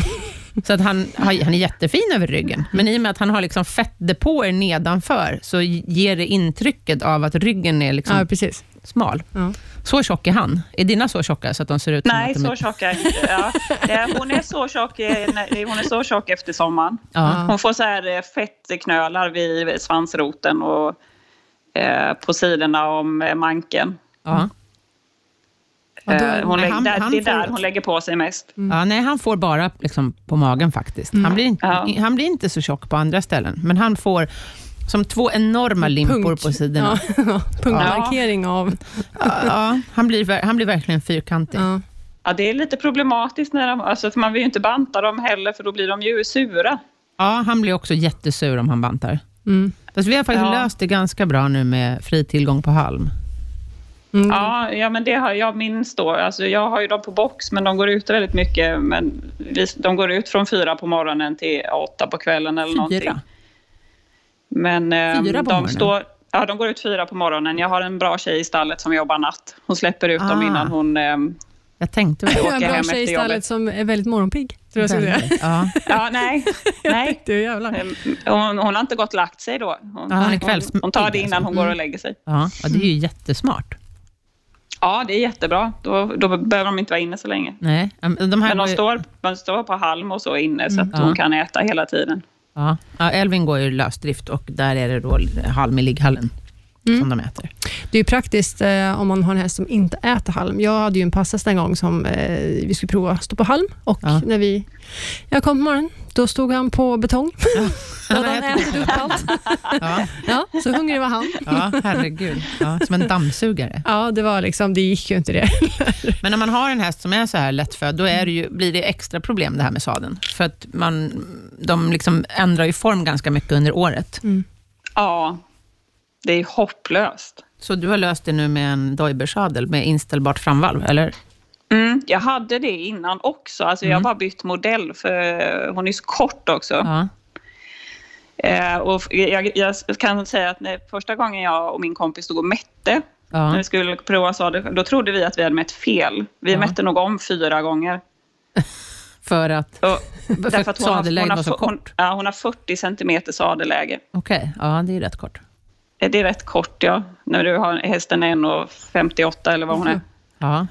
Speaker 1: Så att han, han är jättefin över ryggen, men i och med att han har liksom fettdepåer nedanför, så ger det intrycket av att ryggen är liksom
Speaker 2: Ja, precis.
Speaker 1: smal.
Speaker 2: Ja.
Speaker 1: Så tjock är han. Är dina så tjocka så att de ser ut
Speaker 3: Nej,
Speaker 1: som
Speaker 3: så
Speaker 1: att de är...
Speaker 3: tjock är jag inte. Ja. Eh, Hon är så tjock, eh, nej, hon är så tjock efter sommaren.
Speaker 1: Ja.
Speaker 3: Hon får så här eh, fettknölar vid svansroten och eh, på sidorna om eh, manken.
Speaker 1: Ja.
Speaker 2: Ja, då-
Speaker 3: Eh, hon
Speaker 1: nej,
Speaker 3: lägger,
Speaker 1: han-
Speaker 3: där,
Speaker 1: han
Speaker 3: det är
Speaker 1: får-
Speaker 3: där hon lägger på sig mest.
Speaker 2: Mm.
Speaker 1: Ja, nej, han får bara liksom på magen faktiskt. Han, blir inte,
Speaker 3: Ja.
Speaker 1: han blir inte så tjock på andra ställen, men han får som två enorma limpor
Speaker 2: Punkt.
Speaker 1: på sidorna.
Speaker 2: Ja, punktmarkering av...
Speaker 1: Ja. han, blir, ver- han blir verkligen fyrkantig.
Speaker 2: Ja.
Speaker 3: Ja, det är lite problematiskt, när de, alltså, för man vill ju inte banta dem heller för då blir de ju sura.
Speaker 1: Ja, han blir också jättesur om han bantar.
Speaker 2: Mm.
Speaker 1: Fast vi har faktiskt
Speaker 3: Ja.
Speaker 1: löst det ganska bra nu med fri tillgång på halm.
Speaker 2: Mm.
Speaker 3: Ja, ja, men det har jag minns då. Alltså, jag har ju dem på box, men de går ut väldigt mycket. Men vi- de går ut från fyra på morgonen till åtta på kvällen eller någonting.
Speaker 1: Fyra.
Speaker 3: Men ehm,
Speaker 1: Fyra på
Speaker 3: de,
Speaker 1: morgonen?
Speaker 3: står, ja, de går ut fyra på morgonen. Jag har en bra tjej i stallet som jobbar natt. Hon släpper ut dem
Speaker 1: Ah.
Speaker 3: innan hon... ehm,
Speaker 1: Jag tänkte väl
Speaker 3: åker
Speaker 2: en
Speaker 3: hem
Speaker 2: bra
Speaker 3: efter
Speaker 2: tjej i
Speaker 3: jobbet.
Speaker 2: stallet som är väldigt morgonpigg. Tror jag skulle säga.
Speaker 1: Väldigt, ja.
Speaker 3: ja, nej. nej.
Speaker 2: Du jävlar.
Speaker 3: Ehm, Hon, hon har inte gått och lagt sig då. Hon,
Speaker 1: Ja, hon är
Speaker 3: hon,
Speaker 1: kvällsmygg
Speaker 3: hon tar det innan
Speaker 1: alltså.
Speaker 3: hon går och lägger sig.
Speaker 1: Ja, ja, det är
Speaker 2: Mm.
Speaker 1: ju jättesmart.
Speaker 3: Ja, det är jättebra. Då, då behöver de inte vara inne så länge.
Speaker 1: Nej, ja, men de här
Speaker 3: Men
Speaker 1: går
Speaker 3: de
Speaker 1: ju-
Speaker 3: står, de står på halm och så inne så att
Speaker 1: Ja.
Speaker 3: hon kan äta hela tiden.
Speaker 1: Ja. Ja, Elvin går ju lösdrift och där är det då halm i ligghallen
Speaker 2: Mm.
Speaker 1: som de äter.
Speaker 2: Det är ju praktiskt eh, om man har en häst som inte äter halm. Jag hade ju en passhäst en gång som eh, vi skulle prova stå på halm och
Speaker 1: Ja.
Speaker 2: när vi, jag kom på morgonen, då stod han på betong. Då hade han ätit upp allt.
Speaker 1: Ja,
Speaker 2: Ja, så hungrig var han.
Speaker 1: ja herregud. Ja, som en dammsugare.
Speaker 2: Ja, det var liksom, det gick ju inte det.
Speaker 1: Men när man har en häst som är så här lättfödd, då är det ju, blir det extra problem det här med sadeln. För att man, de liksom ändrar ju form ganska mycket under året.
Speaker 3: Ja, det är hopplöst.
Speaker 1: Så du har löst det nu med en dojbersadel med inställbart framvalv, eller?
Speaker 3: Mm, jag hade det innan också. Alltså
Speaker 1: Mm.
Speaker 3: Jag har bara bytt modell, för hon är så kort också.
Speaker 1: Ja.
Speaker 3: Eh, och f- jag, jag kan säga att när, första gången jag och min kompis stod och mätte, när
Speaker 1: ja.
Speaker 3: vi skulle prova sadel, då trodde vi att vi hade mätt fel. Vi
Speaker 1: Ja.
Speaker 3: mätte nog om fyra gånger.
Speaker 1: För att...
Speaker 3: Och,
Speaker 1: För att sadelläget var så
Speaker 3: fu- hon,
Speaker 1: kort.
Speaker 3: ja, hon har 40 centimeter sadelläge.
Speaker 1: Okej, ja det är rätt kort.
Speaker 3: Eh, Det är rätt kort, ja. När du har hästen 1,58 eller vad hon är.
Speaker 1: Ja.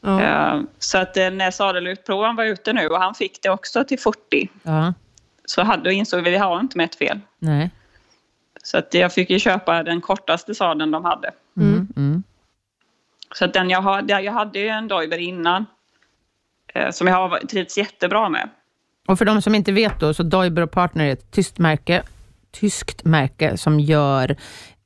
Speaker 2: Ja.
Speaker 3: Eh, Så att eh, när sadelutprovaren var ute nu och han fick det också till 40
Speaker 1: ja.
Speaker 3: så hade, då insåg vi att vi har inte mätt fel.
Speaker 1: Nej.
Speaker 3: Så att jag fick ju köpa den kortaste sadeln de hade.
Speaker 1: Mm. Mm.
Speaker 3: Så att den jag, har, jag hade ju en Dojber innan eh, som jag har varit- trivts jättebra med.
Speaker 1: Och för de som inte vet då, så Deuber och Partner är ett tyskt märke, tyskt märke som gör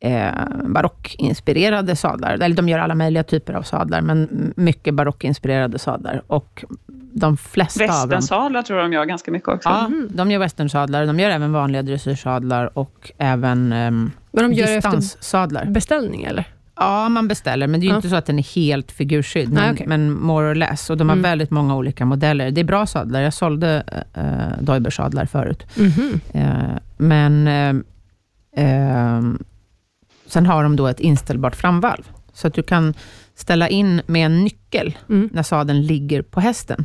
Speaker 1: eh, barockinspirerade sadlar. Eller de gör alla möjliga typer av sadlar, men mycket barockinspirerade sadlar. Och de flesta av dem...
Speaker 3: Västernsadlar tror jag de gör ganska mycket också.
Speaker 1: Ja,
Speaker 2: Mm.
Speaker 1: de gör westernsadlar. De gör även vanliga dressyrsadlar och även ehm,
Speaker 2: Vad de gör efter
Speaker 1: distanssadlar.
Speaker 2: beställning eller?
Speaker 1: Ja, man beställer, men det är ju
Speaker 2: Ja.
Speaker 1: inte så att den är helt figursydd, men,
Speaker 2: Nej, okej. Mm.
Speaker 1: men more or less. Och de har väldigt många olika modeller. Det är bra sadlar. Jag sålde äh, Deuber-sadlar förut.
Speaker 2: Mhm,
Speaker 1: Eh, men eh, eh, sen har de då ett inställbart framvalv, så att du kan ställa in med en nyckel
Speaker 2: Mm.
Speaker 1: när sadeln ligger på hästen.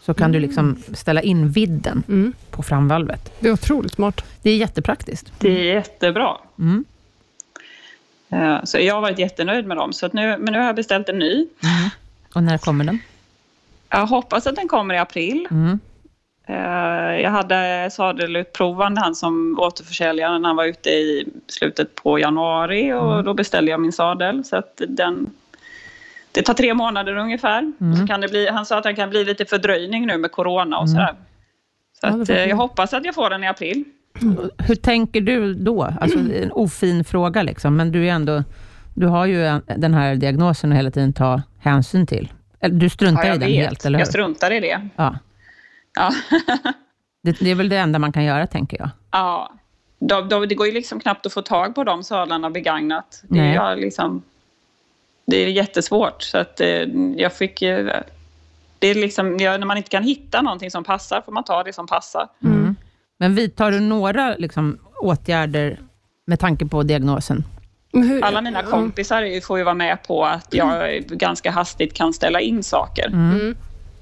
Speaker 1: Så kan du liksom ställa in vidden
Speaker 2: Mm.
Speaker 1: på framvalvet.
Speaker 2: Det är otroligt smart.
Speaker 1: Det är jättepraktiskt.
Speaker 3: Det är jättebra.
Speaker 1: Mm.
Speaker 3: Eh, Så jag har varit jättenöjd med dem. Så att nu, men nu har jag beställt en ny.
Speaker 1: Och när kommer den?
Speaker 3: Jag hoppas att den kommer i april.
Speaker 1: Mm.
Speaker 3: Eh, Jag hade sadelutprovaren, han som återförsäljaren, han var ute i slutet på januari och
Speaker 1: Mm.
Speaker 3: då beställde jag min sadel. Så att den, det tar tre månader ungefär. Och
Speaker 1: Mm.
Speaker 3: Så kan det bli, han sa att det kan bli lite fördröjning nu med corona och sådär. Så
Speaker 2: Ja, det
Speaker 3: att,
Speaker 2: får
Speaker 3: eh,
Speaker 2: vi.
Speaker 3: jag hoppas att jag får den i april.
Speaker 1: Hur tänker du då? Alltså, det är en ofin fråga, liksom, men du, är ändå, du har ju en, den här diagnosen att hela tiden ta hänsyn till. Eller, du struntar
Speaker 3: Ja,
Speaker 1: i
Speaker 3: jag
Speaker 1: den helt,
Speaker 3: vet.
Speaker 1: eller
Speaker 3: Jag
Speaker 1: hur?
Speaker 3: struntar i det.
Speaker 1: Ja.
Speaker 3: Ja.
Speaker 1: Det, det är väl det enda man kan göra, tänker jag.
Speaker 3: ja. De, de, det går ju liksom knappt att få tag på de sadlarna begagnat. Det
Speaker 1: Nej.
Speaker 3: är, jag liksom, det är jättesvårt. Så att, eh, jag fick... eh, Det är liksom, ja, när man inte kan hitta någonting som passar får man ta det som passar.
Speaker 2: Mm.
Speaker 1: Mm. Men vidtar du några liksom, åtgärder med tanke på diagnosen?
Speaker 2: Men hur-
Speaker 1: Mm.
Speaker 3: Alla mina
Speaker 2: ja.
Speaker 1: Mm.
Speaker 3: kompisar får ju vara med på att jag ganska hastigt kan ställa in saker.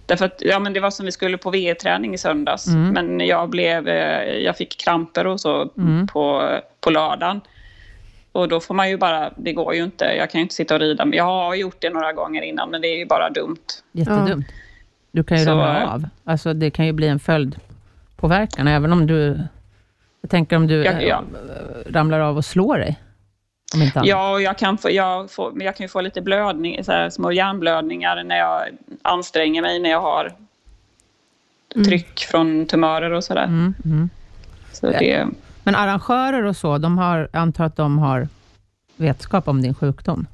Speaker 3: Därför att, ja, men det var som vi skulle på VE-träning i söndags,
Speaker 1: Mm.
Speaker 3: men jag, blev, eh, jag fick kramper och så
Speaker 1: Mm.
Speaker 3: på, på lördagen. Och då får man ju bara, det går ju inte, jag kan ju inte sitta och rida. Men jag har gjort det några gånger innan, men det är ju bara dumt.
Speaker 1: Jättedumt. Du kan ju
Speaker 3: Så,
Speaker 1: ramla
Speaker 3: eh,
Speaker 1: av. Alltså, det kan ju bli en följdpåverkan, även om du... Jag tänker om du
Speaker 3: Jag-
Speaker 1: eh,
Speaker 3: ja.
Speaker 1: ramlar av och slår dig. Om inte annat.
Speaker 3: Ja, och jag kan få, jag får, men jag kan ju få lite blödning, så här, små hjärnblödningar när jag anstränger mig, när jag har tryck från tumörer och sådär.
Speaker 1: Mm, mm.
Speaker 3: Så det,
Speaker 1: Men arrangörer och så, de har, jag antar att de har vetskap om din sjukdom?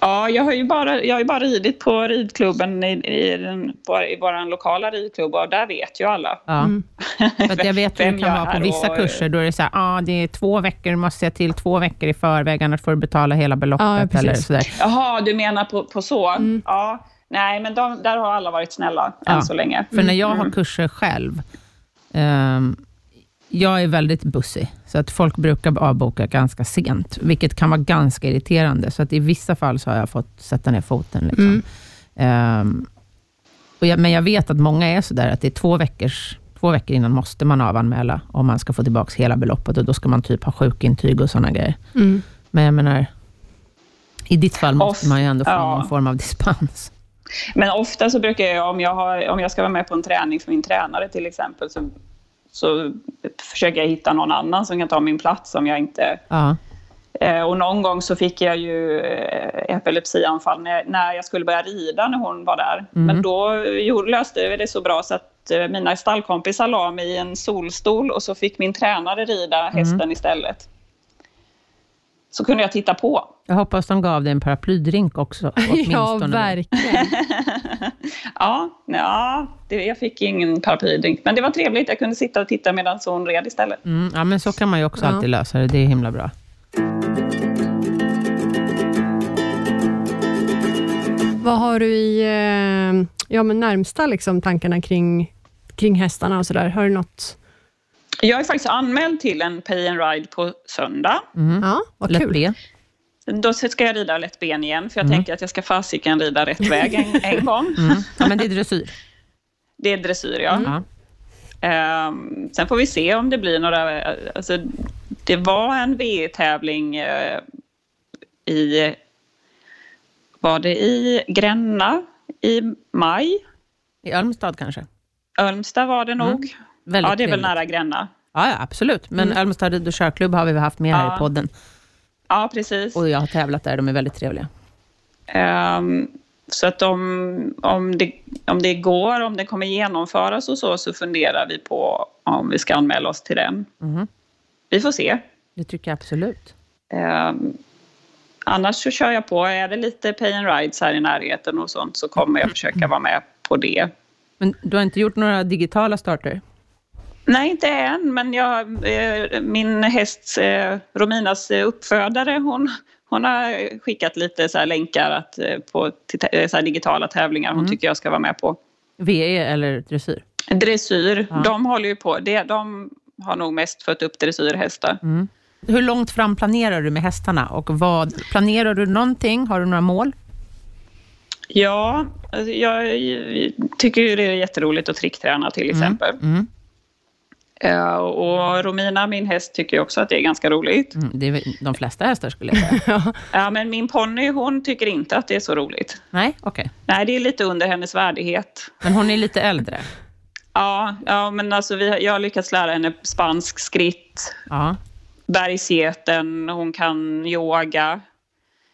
Speaker 3: ja, jag har ju bara, jag har ju bara ridit på ridklubben i, i, den, på, i vår lokala ridklubb och där vet ju alla.
Speaker 1: Ja.
Speaker 2: Mm.
Speaker 1: För att jag vet hur det
Speaker 3: Vem
Speaker 1: kan
Speaker 3: jag
Speaker 1: vara på
Speaker 3: är
Speaker 1: vissa
Speaker 3: och-
Speaker 1: kurser. Då är det så här, ah, det är två veckor, du måste se till två veckor i förväg, annars får du betala hela
Speaker 2: Ja,
Speaker 1: beloppet.
Speaker 2: precis.
Speaker 1: eller sådär.
Speaker 3: Jaha, du menar på, på så? Ja. Nej, men de, där har alla varit snälla
Speaker 1: Mm. Ja.
Speaker 3: än så länge.
Speaker 1: För när jag har kurser själv, ehm, jag är väldigt bussig, så att folk brukar avboka ganska sent, vilket kan vara ganska irriterande. Så att i vissa fall så har jag fått sätta ner foten. Liksom. Ehm, och jag, men jag vet att många är sådär att det är två, veckors, två veckor innan måste man avanmäla om man ska få tillbaka hela beloppet och då ska man typ ha sjukintyg och sådana grejer.
Speaker 2: Mm.
Speaker 1: Men jag menar, i ditt fall måste
Speaker 3: Off-
Speaker 1: man ju ändå få
Speaker 3: ja.
Speaker 1: någon form av dispens.
Speaker 3: Men ofta så brukar jag, om jag, har, om jag ska vara med på en träning för min tränare till exempel, så, så försöker jag hitta någon annan som kan ta min plats om jag inte...
Speaker 1: Ja.
Speaker 3: Eh, och någon gång så fick jag ju eh, epilepsianfall när, jag- när jag skulle börja rida när hon var där. Men då gjorde, löste vi det så bra så att eh, mina stallkompisar la mig i en solstol och så fick min tränare rida hästen istället. Så kunde jag titta på.
Speaker 1: Jag hoppas de gav dig en paraplydrink också.
Speaker 2: Ja,
Speaker 1: åtminstone.
Speaker 2: verkligen.
Speaker 3: Ja, ja det, jag fick ingen paraplydrink. Men det var trevligt. Jag kunde sitta och titta medan hon red istället.
Speaker 1: Mm, ja, men så kan man ju också
Speaker 2: Ja.
Speaker 1: alltid lösa det. Det är himla bra.
Speaker 2: Vad har du i eh, ja, men närmsta liksom, tankarna kring, kring hästarna och sådär? Har du något?
Speaker 3: Jag är faktiskt anmäld till en pay and ride på söndag.
Speaker 1: Mm.
Speaker 2: Ja, vad
Speaker 1: Lätt
Speaker 2: kul.
Speaker 1: det.
Speaker 3: Då ska jag rida lätt ben igen, för jag tänker att jag ska fasiken rida rätt väg en, en gång.
Speaker 1: Mm. Ja, men det är dressyr.
Speaker 3: Det är dressyr, ja.
Speaker 2: Mm.
Speaker 1: Ja.
Speaker 3: Ehm, sen får vi se om det blir några... Alltså, det var en VE-tävling eh, i... Var det i Gränna i maj?
Speaker 1: I Almstad kanske?
Speaker 3: Ölmstad var det nog.
Speaker 1: Mm. Väldigt
Speaker 3: ja, det är väl
Speaker 1: trevligt.
Speaker 3: nära Gränna.
Speaker 1: Ja, ja, absolut. Men
Speaker 2: Mm.
Speaker 1: Almstad rid och körklubb har vi haft med här
Speaker 3: Ja.
Speaker 1: i podden.
Speaker 3: Ja, precis.
Speaker 1: Och jag har tävlat där. De är väldigt trevliga.
Speaker 3: Ehm, så att om, om, det, om det går, om det kommer genomföras och så, så funderar vi på om vi ska anmäla oss till den.
Speaker 1: Mhm.
Speaker 3: Vi får se.
Speaker 1: Det tycker jag absolut.
Speaker 3: Ehm, annars så kör jag på. Är det lite pay and rides här i närheten och sånt så kommer jag försöka vara med på det.
Speaker 1: Men du har inte gjort några digitala starter?
Speaker 3: Nej, inte än, men jag, eh, min häst eh, Rominas eh, uppfödare, hon, hon har skickat lite så här länkar att, eh, på till, tä- eh, så här digitala tävlingar hon tycker jag ska vara med på.
Speaker 1: VE E eller dressyr?
Speaker 3: Dressyr, de håller ju på. Det, de har nog mest fött upp dressyrhästar.
Speaker 1: Mm. Hur långt fram planerar du med hästarna? Och vad, planerar du någonting? Har du några mål?
Speaker 3: Ja, alltså jag, jag tycker ju det är jätteroligt att trickträna till exempel.
Speaker 1: Mm.
Speaker 3: Eh, Och Romina, min häst, tycker ju också att det är ganska roligt.
Speaker 1: Mm, det är väl de flesta hästar skulle jag säga.
Speaker 3: Ja, men min ponny, hon tycker inte att det är så roligt.
Speaker 1: Nej, okej.
Speaker 3: Nej, det är lite under hennes värdighet.
Speaker 1: Men hon är lite äldre.
Speaker 3: Ja, ja men alltså vi, har- jag har lyckats lära henne spansk skritt,
Speaker 1: Ja.
Speaker 3: bergsgeten, hon kan yoga.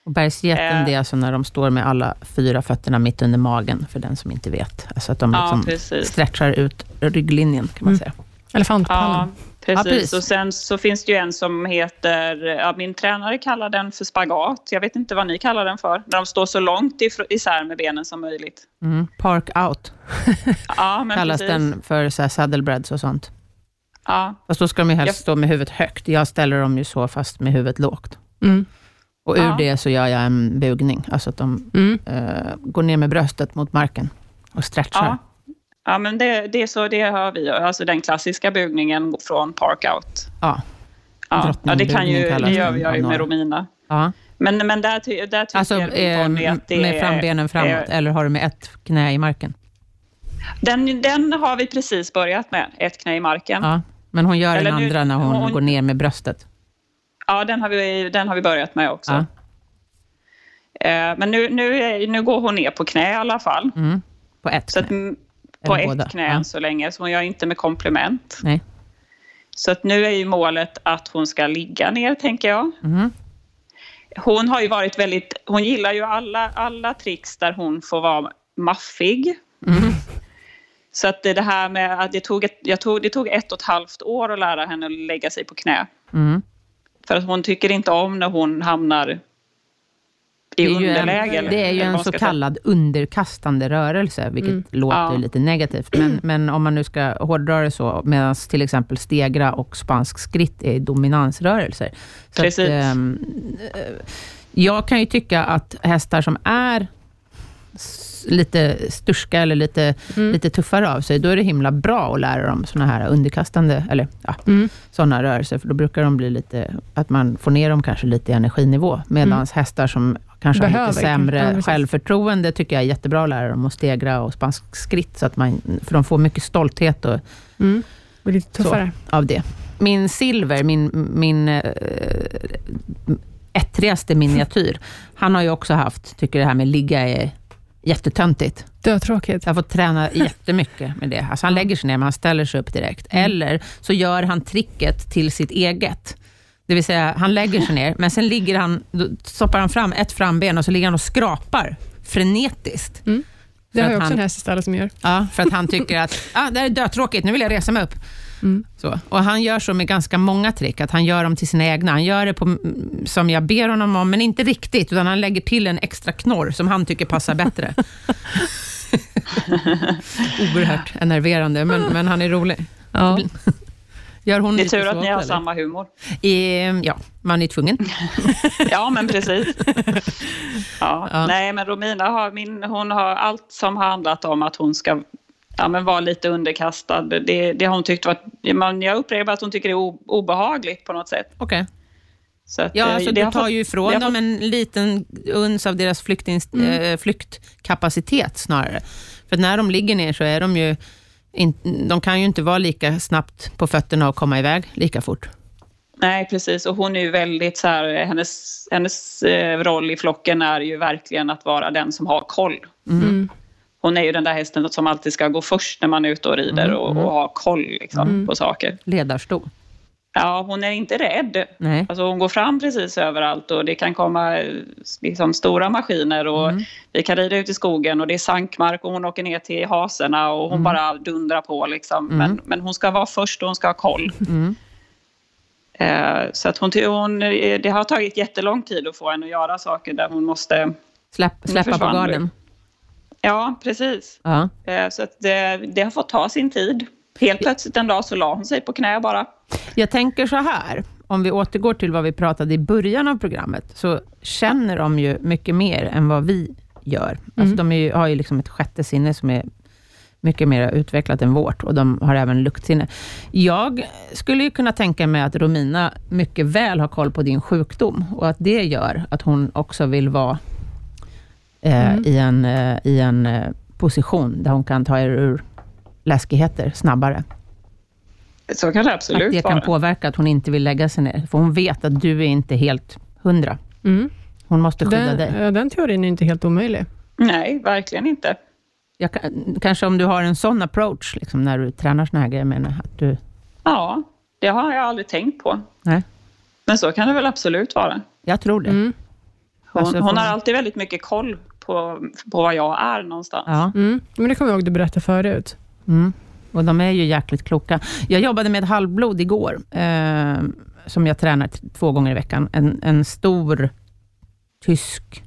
Speaker 1: Och bergsgeten,
Speaker 3: Eh.
Speaker 1: det är alltså när de står med alla fyra fötterna mitt under magen, för den som inte vet. Alltså att de
Speaker 3: Ja,
Speaker 1: liksom
Speaker 3: precis.
Speaker 1: stretchar ut rygglinjen, kan
Speaker 2: Mm.
Speaker 1: man säga.
Speaker 3: Ja,
Speaker 2: Elefantpallen.
Speaker 3: precis.
Speaker 1: Ja, precis.
Speaker 3: Och sen så finns det ju en som heter, ja, min tränare kallar den för spagat. Jag vet inte vad ni kallar den för, när de står så långt ifr- isär med benen som möjligt.
Speaker 1: Mm. Park out
Speaker 3: Ja, men
Speaker 1: kallas
Speaker 3: precis.
Speaker 1: den för så här saddlebreads och sånt.
Speaker 3: Ja,
Speaker 1: Fast då ska de ju helst
Speaker 3: Jag-
Speaker 1: stå med huvudet högt. Jag ställer dem ju så, fast med huvudet lågt.
Speaker 2: Mm.
Speaker 1: Och ur
Speaker 3: Ja.
Speaker 1: det så gör jag en bugning, alltså att de
Speaker 2: Mm.
Speaker 1: eh, går ner med bröstet mot marken och stretchar.
Speaker 3: Ja. Ja, men det, det är så det har vi. Alltså den klassiska bugningen från parkout.
Speaker 1: Ja.
Speaker 3: Ja, ja, det,
Speaker 1: Drottningbugning
Speaker 3: kan ju,
Speaker 1: kallas
Speaker 3: det gör
Speaker 1: den
Speaker 3: jag
Speaker 1: av
Speaker 3: ju
Speaker 1: några.
Speaker 3: med Romina.
Speaker 1: ja.
Speaker 3: Men, men där, ty, där tycker
Speaker 1: Alltså
Speaker 3: jag
Speaker 1: eh,
Speaker 3: Bonnie att det
Speaker 1: med
Speaker 3: är-
Speaker 1: frambenen framåt,
Speaker 3: är-
Speaker 1: eller har du med ett knä i marken?
Speaker 3: Den, den har vi precis börjat med, ett knä i marken. Ja,
Speaker 1: Ja, men hon gör
Speaker 3: Eller
Speaker 1: den
Speaker 3: nu-
Speaker 1: andra när hon,
Speaker 3: hon-
Speaker 1: går ner med bröstet.
Speaker 3: den, har vi, den har vi börjat med också.
Speaker 1: Ja.
Speaker 3: Eh, Men nu, nu, är- nu går hon ner på knä i alla fall.
Speaker 1: Mm. På ett
Speaker 3: Så att,
Speaker 1: knä.
Speaker 3: mm, på
Speaker 1: Eller
Speaker 3: ett
Speaker 1: båda.
Speaker 3: knä
Speaker 1: Ja.
Speaker 3: än så länge, så hon gör inte med komplement.
Speaker 1: Nej.
Speaker 3: Så att nu är ju målet att hon ska ligga ner, tänker jag.
Speaker 1: Mhm.
Speaker 3: Hon har ju varit väldigt... Hon gillar ju alla, alla tricks där hon får vara maffig.
Speaker 1: Mm.
Speaker 3: Så att det det här med att det tog, ett, jag tog, det tog ett och ett halvt år att lära henne att lägga sig på knä.
Speaker 1: Mm.
Speaker 3: För att hon tycker inte om när hon hamnar i
Speaker 1: Det är ju en,
Speaker 3: underläge. eller-
Speaker 1: det är ju
Speaker 3: eller vad
Speaker 1: en
Speaker 3: man
Speaker 1: så
Speaker 3: ska säga.
Speaker 1: kallad underkastande rörelse, vilket
Speaker 2: Mm.
Speaker 1: låter
Speaker 3: Ja.
Speaker 1: lite negativt. Men, men om man nu ska hårdra det så, medan till exempel stegra och spansk skritt är dominansrörelser. Så
Speaker 3: Precis.
Speaker 1: ehm, eh, jag kan ju tycka att hästar som är s- lite sturska eller lite, lite tuffare av sig, då är det himla bra att lära dem såna här underkastande, eller ja,
Speaker 2: Mm.
Speaker 1: sådana rörelser, för då brukar de bli lite, att man får ner dem kanske lite i energinivå, medan hästar som kanske har
Speaker 2: Mm. Behöver,
Speaker 1: lite sämre
Speaker 2: ja, precis.
Speaker 1: självförtroende, tycker jag är jättebra att lära dem att stegra och spansk skritt, så att man, för de får mycket stolthet och,
Speaker 2: Mm. Och lite tuffare.
Speaker 1: av det. Min silver, min, min eh, ettrigaste miniatyr, han har ju också haft, tycker det här med ligga är jättetöntigt.
Speaker 2: Dötråkigt.
Speaker 1: Så jag har fått träna jättemycket med det. Alltså han lägger sig ner, men han ställer sig upp direkt. Eller så gör han tricket till sitt eget. Det vill säga, han lägger sig ner, men sen ligger han, då stoppar han fram ett framben och så ligger han och skrapar frenetiskt.
Speaker 2: Det har
Speaker 1: att
Speaker 2: jag också
Speaker 1: han-
Speaker 2: en häst i stallet som gör.
Speaker 1: Ja, för att han tycker att ah, det här är dötråkigt, nu vill jag resa mig upp.
Speaker 2: Mm.
Speaker 1: Så. Och Han gör så med ganska många trick, att han gör dem till sina egna. Han gör det på, mm, som jag ber honom om, men inte riktigt, utan han lägger till en extra knorr som han tycker passar bättre. Oerhört enerverande, men, men han är rolig.
Speaker 2: Ja.
Speaker 1: Gör hon
Speaker 3: Det är
Speaker 1: lite
Speaker 3: tur
Speaker 1: så
Speaker 3: att ni har
Speaker 1: också, eller?
Speaker 3: samma humor.
Speaker 1: Ehm, ja, man är tvungen.
Speaker 3: Ja, men precis. Ja.
Speaker 1: Ja.
Speaker 3: Nej, men Romina har, min, hon har allt som har handlat om att hon ska ja, men vara lite underkastad. Det, det har hon tyckt varit... Men jag upprepar att hon tycker det är o- obehagligt på något sätt.
Speaker 1: Okej.
Speaker 3: Så att,
Speaker 1: Ja,
Speaker 3: eh,
Speaker 1: alltså,
Speaker 3: det
Speaker 1: du
Speaker 3: har
Speaker 1: tar
Speaker 3: fått- Mm.
Speaker 1: ju
Speaker 3: det
Speaker 1: ifrån
Speaker 3: har
Speaker 1: dem en liten uns av deras flyktins, eh, flyktkapacitet snarare. För att när de ligger ner så är de ju... In, de kan ju inte vara lika snabbt på fötterna och komma iväg lika fort.
Speaker 3: Nej, precis. Och hon är ju väldigt så här, hennes, hennes eh, roll i flocken är ju verkligen att vara den som har koll.
Speaker 2: Mm.
Speaker 3: Hon är ju den där hästen som alltid ska gå först när man är ute och rider och, och ha koll liksom, på saker.
Speaker 1: Ledarstol.
Speaker 3: Ja, hon är inte rädd.
Speaker 1: Nej.
Speaker 3: Alltså hon går fram precis överallt och det kan komma eh, liksom, stora maskiner och
Speaker 1: Mm.
Speaker 3: vi kan rida ut i skogen och det är sankmark och hon åker ner till haserna och hon
Speaker 1: Mm.
Speaker 3: bara dundrar på liksom. Men, men hon ska vara först och hon ska ha koll.
Speaker 1: Mm.
Speaker 3: Eh, så att hon, hon, eh, det har tagit jättelång tid att få henne att göra saker där hon måste...
Speaker 1: Släpp,
Speaker 3: Nu
Speaker 1: släppa på
Speaker 3: försvann du.
Speaker 1: garden.
Speaker 3: Ja, precis.
Speaker 1: Ja.
Speaker 3: Eh, så att det, det har fått ta sin tid. Helt plötsligt en dag så la hon sig på knä bara.
Speaker 1: Jag tänker så här, om vi återgår till vad vi pratade i början av programmet, så känner de ju mycket mer än vad vi gör. Alltså de är ju, har ju liksom ett sjätte sinne som är mycket mer utvecklat än vårt och de har även luktsinne. Jag skulle ju kunna tänka mig att Romina mycket väl har koll på din sjukdom och att det gör att hon också vill vara eh, i en, eh, i en eh, position där hon kan ta er ur läskigheter snabbare.
Speaker 3: Så kan det
Speaker 1: Att
Speaker 3: absolut
Speaker 1: det kan
Speaker 3: vara.
Speaker 1: påverka att hon inte vill lägga sig ner. För hon vet att du är inte helt hundra.
Speaker 2: Mm.
Speaker 1: Hon måste skydda
Speaker 2: Den,
Speaker 1: dig.
Speaker 2: ja, den teorin är inte helt omöjlig.
Speaker 3: Nej, verkligen inte.
Speaker 1: Jag, kan- kanske om du har en sån approach, liksom, när du tränar såna här grejer, menar jag, att du...
Speaker 3: Ja, det har jag aldrig tänkt på.
Speaker 1: Nej,
Speaker 3: Men så kan det väl absolut vara.
Speaker 1: jag tror det.
Speaker 2: Mm.
Speaker 3: Hon,
Speaker 1: Alltså,
Speaker 3: hon
Speaker 1: får-
Speaker 3: har alltid väldigt mycket koll på, på vad jag är någonstans.
Speaker 1: Ja.
Speaker 2: Mm. Men det kommer jag ihåg du berättade förut.
Speaker 1: Mm. Och de är ju jäkligt kloka. Jag jobbade med ett halvblod igår, eh, som jag tränar t- två gånger i veckan. En, en stor tysk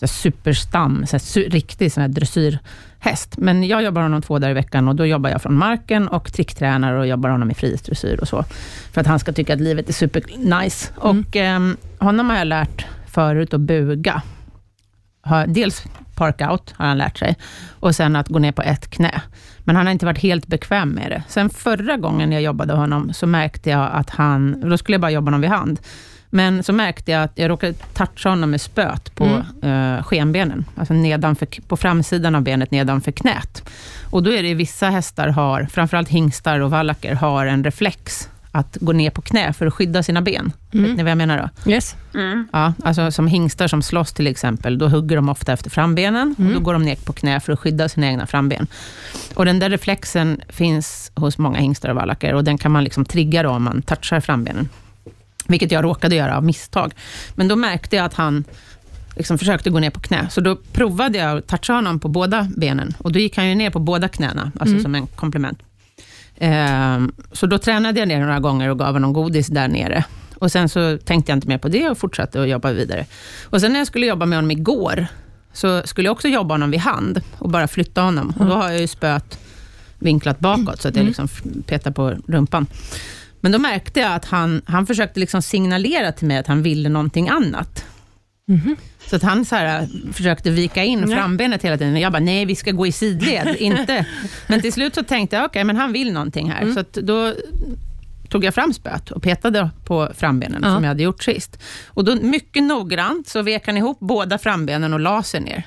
Speaker 1: så här superstam, så här, su- riktig sån här dressyrhäst. Men jag jobbar honom två dagar i veckan och då jobbar jag från marken och tricktränar och jobbar honom i frihetsdressyr och så. För att han ska tycka att livet är supernice. Och ehm, honom har jag lärt förut att buga. Har, dels parkout har han lärt sig och sen att gå ner på ett knä. Men han har inte varit helt bekväm med det. Sen förra gången jag jobbade honom så märkte jag att han, då skulle jag bara jobba honom vid hand, Men så märkte jag att jag råkade toucha honom med spöet på eh, skenbenen. Alltså nedanför, på framsidan av benet nedanför knät. Och då är det vissa hästar har, framförallt hingstar och vallacker, har en reflex att gå ner på knä för att skydda sina ben.
Speaker 2: Mm.
Speaker 1: Vet ni vad jag menar då?
Speaker 2: Yes.
Speaker 3: Mm.
Speaker 1: Ja, alltså som hingstar som slåss till exempel, då hugger de ofta efter frambenen och då går de ner på knä för att skydda sina egna framben. Och den där reflexen finns hos många hingstar och vallacker och den kan man liksom trigga då om man touchar frambenen. Vilket jag råkade göra av misstag. Men då märkte jag att han liksom försökte gå ner på knä, så då provade jag att toucha honom på båda benen och då gick han ju ner på båda knäna, alltså som en komplement. Ehm, så då tränade jag ner några gånger och gav honom godis där nere. Och Sen så tänkte jag inte mer på det och fortsatte att jobba vidare. Och Sen när jag skulle jobba med honom igår, så skulle jag också jobba honom vid hand och bara flytta honom. Och Då har jag ju spöet vinklat bakåt, så att jag liksom f- petar på rumpan. Men då märkte jag att han, han försökte liksom signalera till mig att han ville någonting annat. Så att han så här, äh, försökte vika in frambenet hela tiden. Jag bara, nej vi ska gå i sidled, inte. Men till slut så tänkte jag, okej men han vill någonting här. Så att då tog jag fram spöet och petade på frambenen
Speaker 2: Ja.
Speaker 1: som jag hade gjort sist. Och då mycket noggrant så vek han ihop båda frambenen och la sig ner.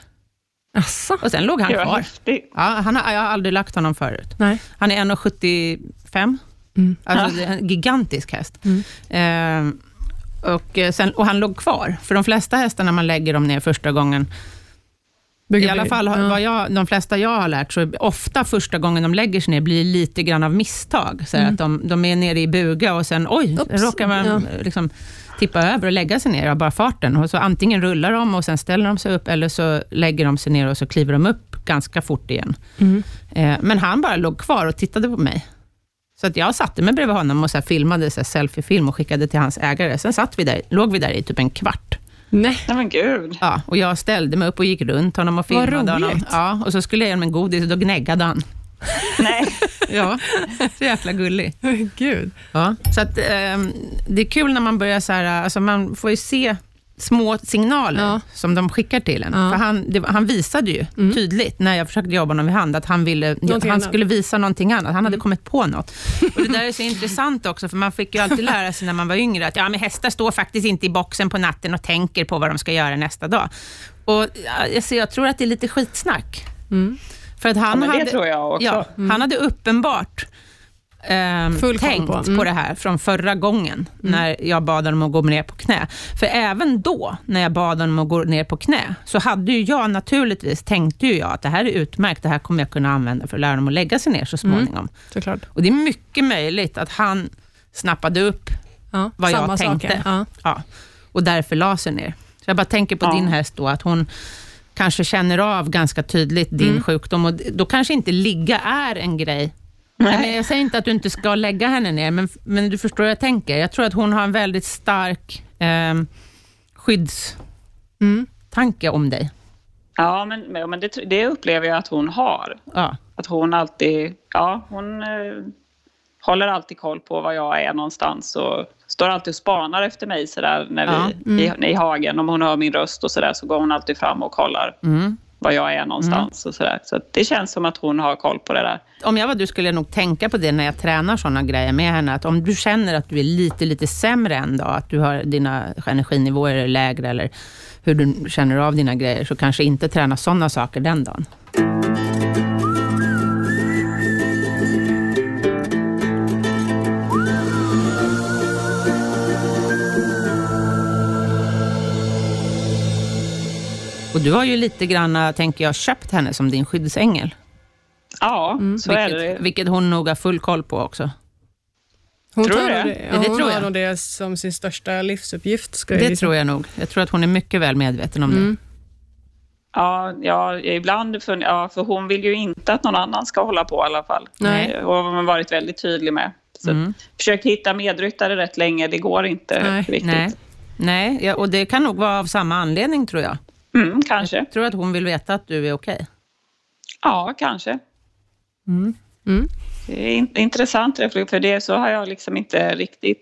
Speaker 2: Asså?
Speaker 1: Och sen låg han
Speaker 3: Det var
Speaker 1: kvar.
Speaker 3: häftigt.
Speaker 1: Ja, han har, jag har aldrig lagt honom förut.
Speaker 2: Nej.
Speaker 1: Han är 1,75.
Speaker 2: Mm.
Speaker 1: Alltså det är en gigantisk häst. Ehm, och, eh, sen, och han låg kvar. För de flesta hästar när man lägger dem ner första gången, i alla fall har-
Speaker 2: Ja.
Speaker 1: vad jag, de flesta jag har lärt, så är ofta första gången de lägger sig ner blir lite grann av misstag. Så här att de, de är nere i buga och sen oj,
Speaker 2: Mm. Oops.
Speaker 1: råkar man
Speaker 2: Ja.
Speaker 1: eh, liksom, tippa över och lägga sig ner av bara farten. Och så antingen rullar de och sen ställer de sig upp, eller så lägger de sig ner och så kliver de upp ganska fort igen.
Speaker 2: Mm.
Speaker 1: Eh, men han bara låg kvar och tittade på mig. Så att jag satte mig bredvid honom och så här filmade så här selfiefilm och skickade till hans ägare. Sen satt vi där, låg vi där i typ en kvart.
Speaker 2: Nej.
Speaker 3: Nej men gud.
Speaker 1: Ja, och jag ställde mig upp och gick runt honom och
Speaker 2: Vad
Speaker 1: filmade honom.
Speaker 2: roligt.
Speaker 1: Ja, och så skulle jag ge honom en godis och då gnäggade han.
Speaker 3: Nej.
Speaker 1: Ja, så jäkla gullig.
Speaker 2: Gud.
Speaker 1: Ja. Så att, ehm, det är kul när man börjar så här, alltså man får ju se små signaler
Speaker 2: Ja.
Speaker 1: som de skickar till en.
Speaker 2: Ja. Mm.
Speaker 1: För han, det, han visade ju tydligt, när jag försökte jobba honom i hand, att han, ville,
Speaker 2: Någonting
Speaker 1: han
Speaker 2: annat. Mm.
Speaker 1: skulle visa någonting annat. Han hade kommit på något. Och det där är så intressant också, för man fick ju alltid lära sig när man var yngre, att ja, men hästar står faktiskt inte i boxen på natten och tänker på vad de ska göra nästa dag. Och ja, alltså, jag tror att det är lite skitsnack.
Speaker 2: Mm.
Speaker 1: För att han
Speaker 3: men det
Speaker 1: hade,
Speaker 3: tror jag också.
Speaker 1: Ja, Han hade uppenbart ehm,
Speaker 2: Full koll
Speaker 1: tänkt
Speaker 2: på.
Speaker 1: på.
Speaker 2: Mm.
Speaker 1: det här från förra gången, när jag bad honom att gå ner på knä. För även då, när jag bad honom att gå ner på knä, så hade ju jag naturligtvis, tänkte ju jag att det här är utmärkt, det här kommer jag kunna använda för att lära honom att lägga sig ner så
Speaker 2: Mm.
Speaker 1: småningom.
Speaker 2: Såklart.
Speaker 1: Och det är mycket möjligt att han snappade upp
Speaker 2: Ja.
Speaker 1: vad
Speaker 2: Samma
Speaker 1: jag tänkte.
Speaker 2: Saker. Ja.
Speaker 1: Ja, och därför la sig ner. Så jag bara tänker på
Speaker 3: Ja.
Speaker 1: din häst då, att hon kanske känner av ganska tydligt din sjukdom och då kanske inte ligga är en grej. Nej. men jag säger inte att du inte ska lägga henne ner, men, men du förstår hur jag tänker. Jag tror att hon har en väldigt stark eh, skyddstanke
Speaker 2: Mm.
Speaker 1: om dig.
Speaker 3: Ja, men, men det, det upplever jag att hon har.
Speaker 1: Ja.
Speaker 3: Att hon alltid, ja, hon eh, håller alltid koll på var jag är någonstans och står alltid och spanar efter mig sådär när
Speaker 1: Ja, mm.
Speaker 3: vi, i, i hagen. Om hon hör min röst och sådär så går hon alltid fram och kollar
Speaker 1: Mm.
Speaker 3: var jag är någonstans och sådär. Så att det känns som att hon har koll på det där.
Speaker 1: Om jag var du skulle jag nog tänka på det när jag tränar sådana grejer med henne. Att om du känner att du är lite, lite sämre en dag, att du har, dina energinivåer är lägre eller hur du känner av dina grejer, så kanske inte träna sådana saker den dagen. Och du har ju lite grann, tänker jag, köpt henne som din skyddsängel.
Speaker 3: Ja, så är det.
Speaker 1: Mm, Vilket, vilket hon nog har full koll på också.
Speaker 2: Hon
Speaker 3: Tror
Speaker 2: tar
Speaker 3: du
Speaker 2: nog
Speaker 3: det?
Speaker 2: det,
Speaker 1: Ja, det
Speaker 2: hon
Speaker 1: tror
Speaker 2: har
Speaker 1: jag.
Speaker 2: nog det som sin största livsuppgift. Ska
Speaker 1: Det tror jag nog. Jag tror att hon är mycket väl medveten om
Speaker 3: Mm.
Speaker 1: det.
Speaker 3: Ja, ja ibland, för, ja, för hon vill ju inte att någon annan ska hålla på i alla fall.
Speaker 2: Nej.
Speaker 3: Eh, Och har man varit väldigt tydlig med. Så Försökt hitta medryttare rätt länge, det går inte
Speaker 2: Nej,
Speaker 3: riktigt.
Speaker 1: Mm. Nej, Nej ja, och det kan nog vara av samma anledning tror jag.
Speaker 3: Mm, kanske.
Speaker 1: Jag tror att hon vill veta att du är okej.
Speaker 3: Ja, kanske.
Speaker 2: Mm.
Speaker 3: Det är in, intressant reflektion, för det så har jag liksom inte riktigt...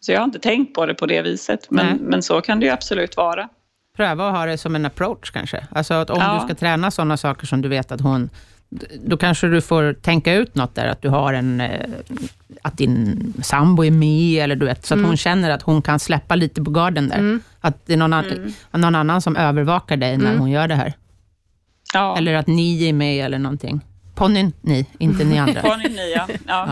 Speaker 3: Så jag har inte tänkt på det på det viset, men,
Speaker 1: Nej.
Speaker 3: men så kan det ju absolut vara.
Speaker 1: Pröva att ha det som en approach kanske. Alltså att om
Speaker 3: Ja.
Speaker 1: du ska träna sådana saker som du vet att hon då kanske du får tänka ut något där, att du har en, eh, att din sambo är med, eller du vet, så att
Speaker 3: Mm.
Speaker 1: hon känner att hon kan släppa lite på garden där. Att det är någon, an-
Speaker 3: Mm.
Speaker 1: någon annan som övervakar dig när hon gör det här.
Speaker 3: Ja,
Speaker 1: Eller att ni är med eller någonting. Ponnyn, ni, inte ni andra.
Speaker 3: Pony 9. Ja.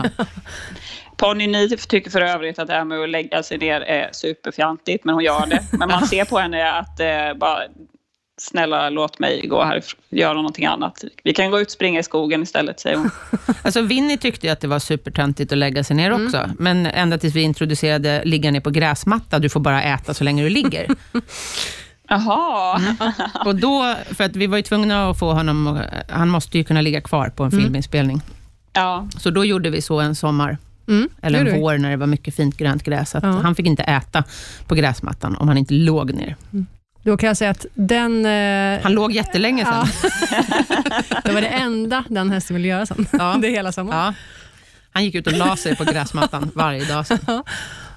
Speaker 3: Pony 9 tycker för övrigt att det här med att lägga sig ner är superfjantigt, men hon gör det. Men man ser på henne att eh, bara, snälla låt mig gå härifrån, göra någonting annat. Vi kan gå ut och springa i skogen istället, säger hon.
Speaker 1: Alltså Winnie tyckte ju att det var supertöntigt att lägga sig
Speaker 2: Mm.
Speaker 1: ner också, men ända tills vi introducerade ligga ner på gräsmatta, du får bara äta så länge du ligger.
Speaker 3: Jaha,
Speaker 1: Och då, för att vi var ju tvungna att få honom, han måste ju kunna ligga kvar på en filminspelning.
Speaker 3: ja,
Speaker 1: Så då gjorde vi så en sommar,
Speaker 2: Mm,
Speaker 1: eller
Speaker 2: gjorde
Speaker 1: en
Speaker 2: vi.
Speaker 1: vår, när det var mycket fint grönt gräs, att
Speaker 2: Ja.
Speaker 1: han fick inte äta på gräsmattan om han inte låg ner.
Speaker 2: Då kan jag säga att den, eh,
Speaker 1: Han låg jättelänge sen.
Speaker 2: Ja. det var det enda den hästen ville göra sen.
Speaker 1: Ja.
Speaker 2: Det är hela sommaren.
Speaker 1: Ja. Han gick ut och la sig på gräsmattan varje dag sen.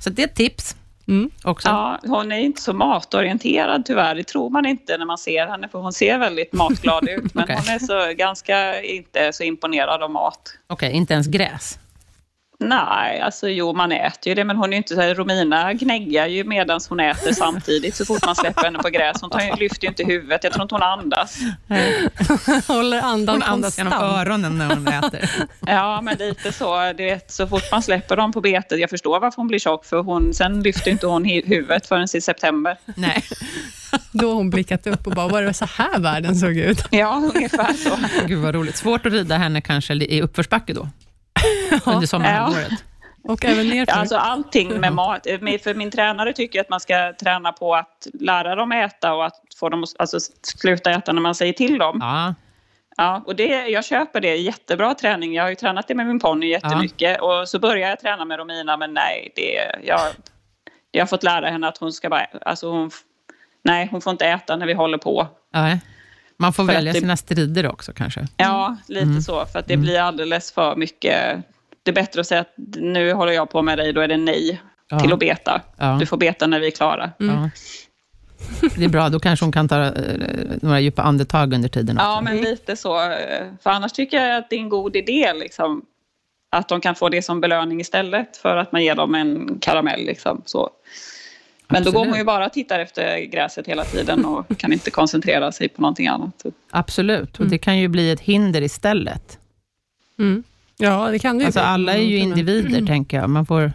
Speaker 1: Så det är ett tips
Speaker 2: Mm.
Speaker 1: också.
Speaker 3: ja. Hon är inte så matorienterad tyvärr, det tror man inte när man ser henne, för hon ser väldigt matglad ut, men
Speaker 1: Okej.
Speaker 3: hon är så, ganska inte så imponerad av mat.
Speaker 1: Okej, inte ens gräs.
Speaker 3: Nej, alltså jo man äter ju det men hon är ju inte så här, Romina gnäggar ju medan hon äter samtidigt så fort man släpper henne på gräs. Hon tar, ju- lyfter ju inte huvudet, jag tror inte hon andas.
Speaker 2: Håller andan
Speaker 1: Hon andas genom
Speaker 2: konstant.
Speaker 1: öronen när hon äter.
Speaker 3: Ja men lite så, du vet så fort man släpper dem på betet, jag förstår varför hon blir tjock för hon, sen lyfter inte hon hi- huvudet förrän i september.
Speaker 1: Nej,
Speaker 2: Då har hon blickat upp och bara, var det så här världen såg ut?
Speaker 3: Ja ungefär så.
Speaker 1: gud vad roligt. Svårt att rida henne kanske i uppförsbacke då, under sommarhalvåret.
Speaker 2: Och även nerför.
Speaker 3: Alltså
Speaker 1: Mm.
Speaker 3: allting med mat. Eh, Med- För min tränare tycker att man ska träna på att lära dem äta och att få dem att alltså, sluta äta när man säger till dem.
Speaker 1: Ja.
Speaker 3: Ja, och det, jag köper det. Jättebra träning. Jag har ju tränat det med min ponny jättemycket. Och så började jag träna med Romina, men nej, det, jag, jag har fått lära henne att hon ska bara... Alltså hon, f- nej, hon får inte äta när vi håller på.
Speaker 1: Nej. Man får
Speaker 3: För att
Speaker 1: välja
Speaker 3: det-
Speaker 1: sina strider också kanske.
Speaker 3: Ja, lite
Speaker 1: Mm.
Speaker 3: så. För att det blir alldeles för mycket. Det är bättre att säga att nu håller jag på med dig, då är det nej
Speaker 1: Ja.
Speaker 3: till att beta.
Speaker 1: Ja.
Speaker 3: Du får beta när vi är klara.
Speaker 1: Ja. Det är bra, då kanske hon kan ta eh, några djupa andetag under tiden också.
Speaker 3: Ja, men lite så. eh, För annars tycker jag att det är en god idé liksom, att de kan få det som belöning istället för att man ger dem en karamell. Liksom, så. Men då går
Speaker 1: Absolut.
Speaker 3: man ju bara och tittar efter gräset hela tiden och kan inte koncentrera sig på någonting annat.
Speaker 1: Absolut, och det kan ju bli ett hinder istället.
Speaker 2: Mm. Ja, det kan du
Speaker 1: Alltså
Speaker 2: bli.
Speaker 1: alla är ju
Speaker 2: Mm.
Speaker 1: individer, tänker jag. Man får...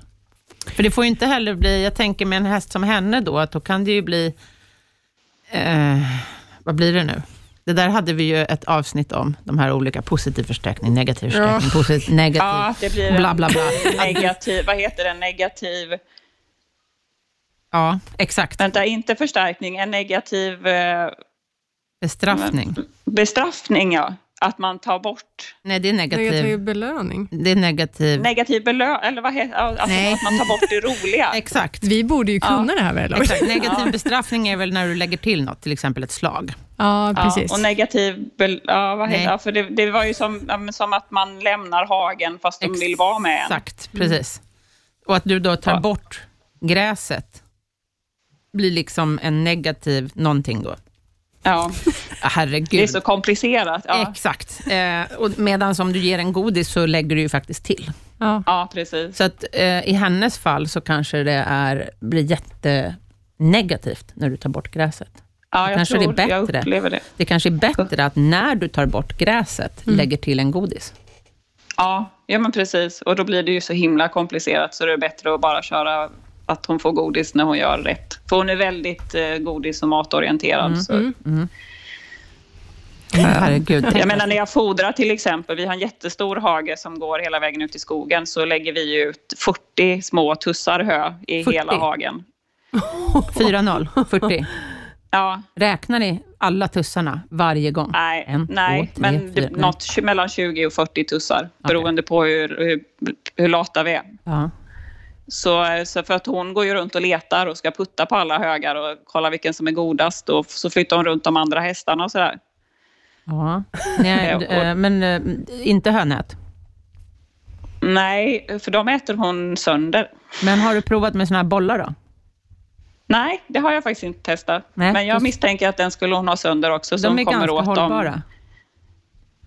Speaker 1: För det får ju inte heller bli, jag tänker med en häst som henne då, att då kan det ju bli... Eh, vad blir det nu? Det där hade vi ju ett avsnitt om, de här olika positiv förstärkning, negativ förstärkning, positiv, negativ,
Speaker 3: Ja, det blir en
Speaker 1: bla bla bla.
Speaker 3: negativ, vad heter det, negativ,
Speaker 1: Ja, exakt.
Speaker 3: vänta, inte förstärkning, en negativ eh,
Speaker 1: Bestraffning.
Speaker 3: bestraffning, ja. Att man tar bort,
Speaker 1: Nej, det är
Speaker 2: Negativ
Speaker 1: negativ.
Speaker 2: belöning.
Speaker 1: Det är negativ.
Speaker 3: negativ belöning, eller vad heter alltså
Speaker 1: Nej.
Speaker 3: att man tar bort det roliga.
Speaker 1: Exakt.
Speaker 2: Vi borde ju kunna det här väl?
Speaker 1: Exakt. Negativ bestraffning är väl när du lägger till något, till exempel ett slag.
Speaker 2: Ja, precis.
Speaker 3: Ja, och negativ... bel- Ja, vad heter,
Speaker 1: Nej.
Speaker 3: ja, för det, det var ju som, ja, men som att man lämnar hagen fast de vill vara med en. Mm.
Speaker 1: Exakt, precis. Och att du då tar
Speaker 3: Ja.
Speaker 1: bort gräset blir liksom en negativ någonting då.
Speaker 3: Ja,
Speaker 1: Ah,
Speaker 3: det är
Speaker 1: Herregud.
Speaker 3: så komplicerat. Ja,
Speaker 1: Exakt. Eh, och medan om du ger en godis så lägger du ju faktiskt till.
Speaker 2: Ja.
Speaker 3: ja precis.
Speaker 1: Så att eh, i hennes fall så kanske det är, blir jättenegativt när du tar bort gräset.
Speaker 3: Ja, jag
Speaker 1: Kanske
Speaker 3: tror,
Speaker 1: det är
Speaker 3: Jag
Speaker 1: bättre.
Speaker 3: upplever det. Mm.
Speaker 1: Det kanske är bättre att när du tar bort gräset, lägger till en godis.
Speaker 3: Ja, ja, men precis. Och då blir det ju så himla komplicerat så det är bättre att bara köra att hon får godis när hon gör rätt. För hon är väldigt eh, godis och matorienterad.
Speaker 1: Mm.
Speaker 3: Så.
Speaker 1: Herregud.
Speaker 3: Jag menar när jag fodrar till exempel, vi har en jättestor hage som går hela vägen ut i skogen, så lägger vi ut 40 små tussar hö i
Speaker 1: 40?
Speaker 3: hela hagen.
Speaker 1: 4-0, 40.
Speaker 3: Ja,
Speaker 1: Räknar ni alla tussarna varje gång?
Speaker 3: Nej,
Speaker 1: En,
Speaker 3: nej
Speaker 1: två, tre,
Speaker 3: men
Speaker 1: fyra.
Speaker 3: det, något tj- mellan 20 och 40 tussar beroende på hur, hur, hur lata vi är.
Speaker 1: Ja.
Speaker 3: Så, så för att hon går ju runt och letar och ska putta på alla högar och kolla vilken som är godast och f- så flyttar hon runt de andra hästarna och sådär.
Speaker 1: ja. Nej,
Speaker 3: Och-
Speaker 1: eh, men eh, inte hönät.
Speaker 3: Nej, för de äter hon sönder.
Speaker 1: Men har du provat med såna här bollar då?
Speaker 3: Nej, det har jag faktiskt inte testat.
Speaker 1: Nej.
Speaker 3: Men jag misstänker att den skulle hon ha sönder också. Så
Speaker 1: De
Speaker 3: hon
Speaker 1: är
Speaker 3: kommer
Speaker 1: ganska
Speaker 3: åt dem.
Speaker 1: hållbara.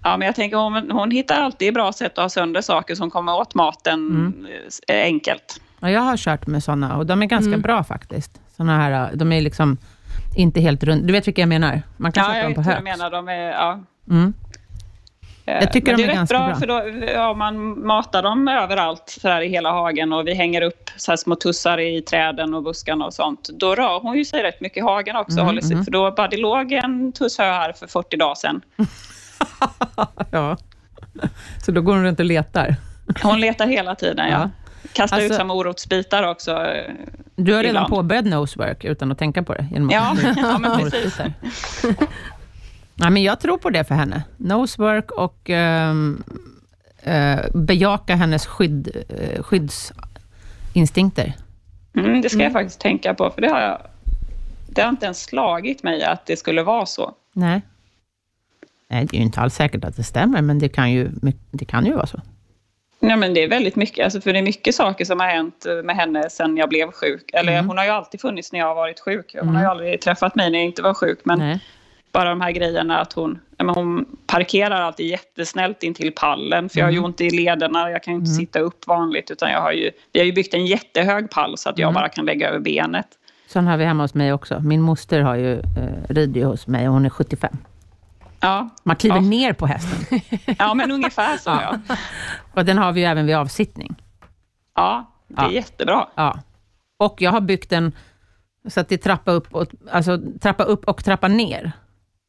Speaker 3: Ja, men jag tänker hon, hon hittar alltid bra sätt att ha sönder saker som kommer åt maten
Speaker 1: Mm.
Speaker 3: eh, enkelt.
Speaker 1: Ja, jag har kört med såna och de är
Speaker 3: Mm.
Speaker 1: ganska bra faktiskt. Såna här, de är liksom inte helt runda. Du vet vilka jag menar? Man kan
Speaker 3: Ja,
Speaker 1: sätta
Speaker 3: jag
Speaker 1: dem
Speaker 3: vet
Speaker 1: på
Speaker 3: vad du
Speaker 1: hög.
Speaker 3: menar. De är, ja. Eh,
Speaker 1: Mm. Jag tycker
Speaker 3: Men
Speaker 1: de
Speaker 3: det
Speaker 1: är
Speaker 3: är rätt
Speaker 1: ganska
Speaker 3: bra,
Speaker 1: bra.
Speaker 3: för då, ja, man matar dem överallt så här i hela hagen och vi hänger upp så här små tussar i träden och buskarna och sånt. Då rör hon ju sig rätt mycket i hagen också,
Speaker 1: Mhm,
Speaker 3: håller sig,
Speaker 1: mhm.
Speaker 3: för då bara det låg en tusshö här för 40 dagar sedan.
Speaker 1: Ja. Så då går hon runt och letar.
Speaker 3: Hon letar hela tiden, ja.
Speaker 1: Ja.
Speaker 3: Kastar ut
Speaker 1: Alltså-
Speaker 3: som morotsbitar också. eh,
Speaker 1: Du har redan
Speaker 3: Ibland.
Speaker 1: påbörjat nosework utan att tänka på det. Genom att
Speaker 3: Ja, ja men precis.
Speaker 1: Orkbitar. Nej, men jag tror på det för henne. Nosework och ehm, eh, bejaka hennes skydd, eh, skyddsinstinkter.
Speaker 3: Mm, det ska jag faktiskt tänka på, för det har, jag, det har inte ens slagit mig att det skulle vara så.
Speaker 1: Nej. Nej, det är ju inte alls säkert att det stämmer, men det kan ju, my- det kan ju vara så.
Speaker 3: Nej, men det är väldigt mycket, alltså, för det är mycket saker som har hänt eh, med henne sen jag blev sjuk. Eller
Speaker 1: Mm.
Speaker 3: hon har ju alltid funnits när jag har varit sjuk. Hon har ju aldrig träffat mig när jag inte var sjuk. Men
Speaker 1: Nej.
Speaker 3: bara de här grejerna att hon, ja, men hon parkerar alltid jättesnällt in till pallen. För jag
Speaker 1: Mm.
Speaker 3: har ju ont i lederna, jag kan ju inte sitta upp vanligt. Utan jag har ju, vi har ju byggt en jättehög pall så att
Speaker 1: Mm.
Speaker 3: jag bara kan lägga över benet.
Speaker 1: Sån har vi hemma hos mig också. Min moster har ju, eh, rider ju hos mig och hon är 75.
Speaker 3: Ja,
Speaker 1: Man kliver
Speaker 3: Ja.
Speaker 1: ner på hästen.
Speaker 3: ja men ungefär så ja.
Speaker 1: Och den har vi ju även vid avsittning.
Speaker 3: Ja, det är
Speaker 1: Ja.
Speaker 3: jättebra.
Speaker 1: Ja. Och jag har byggt en så att det är trappa upp och, alltså, trappa upp och trappa ner.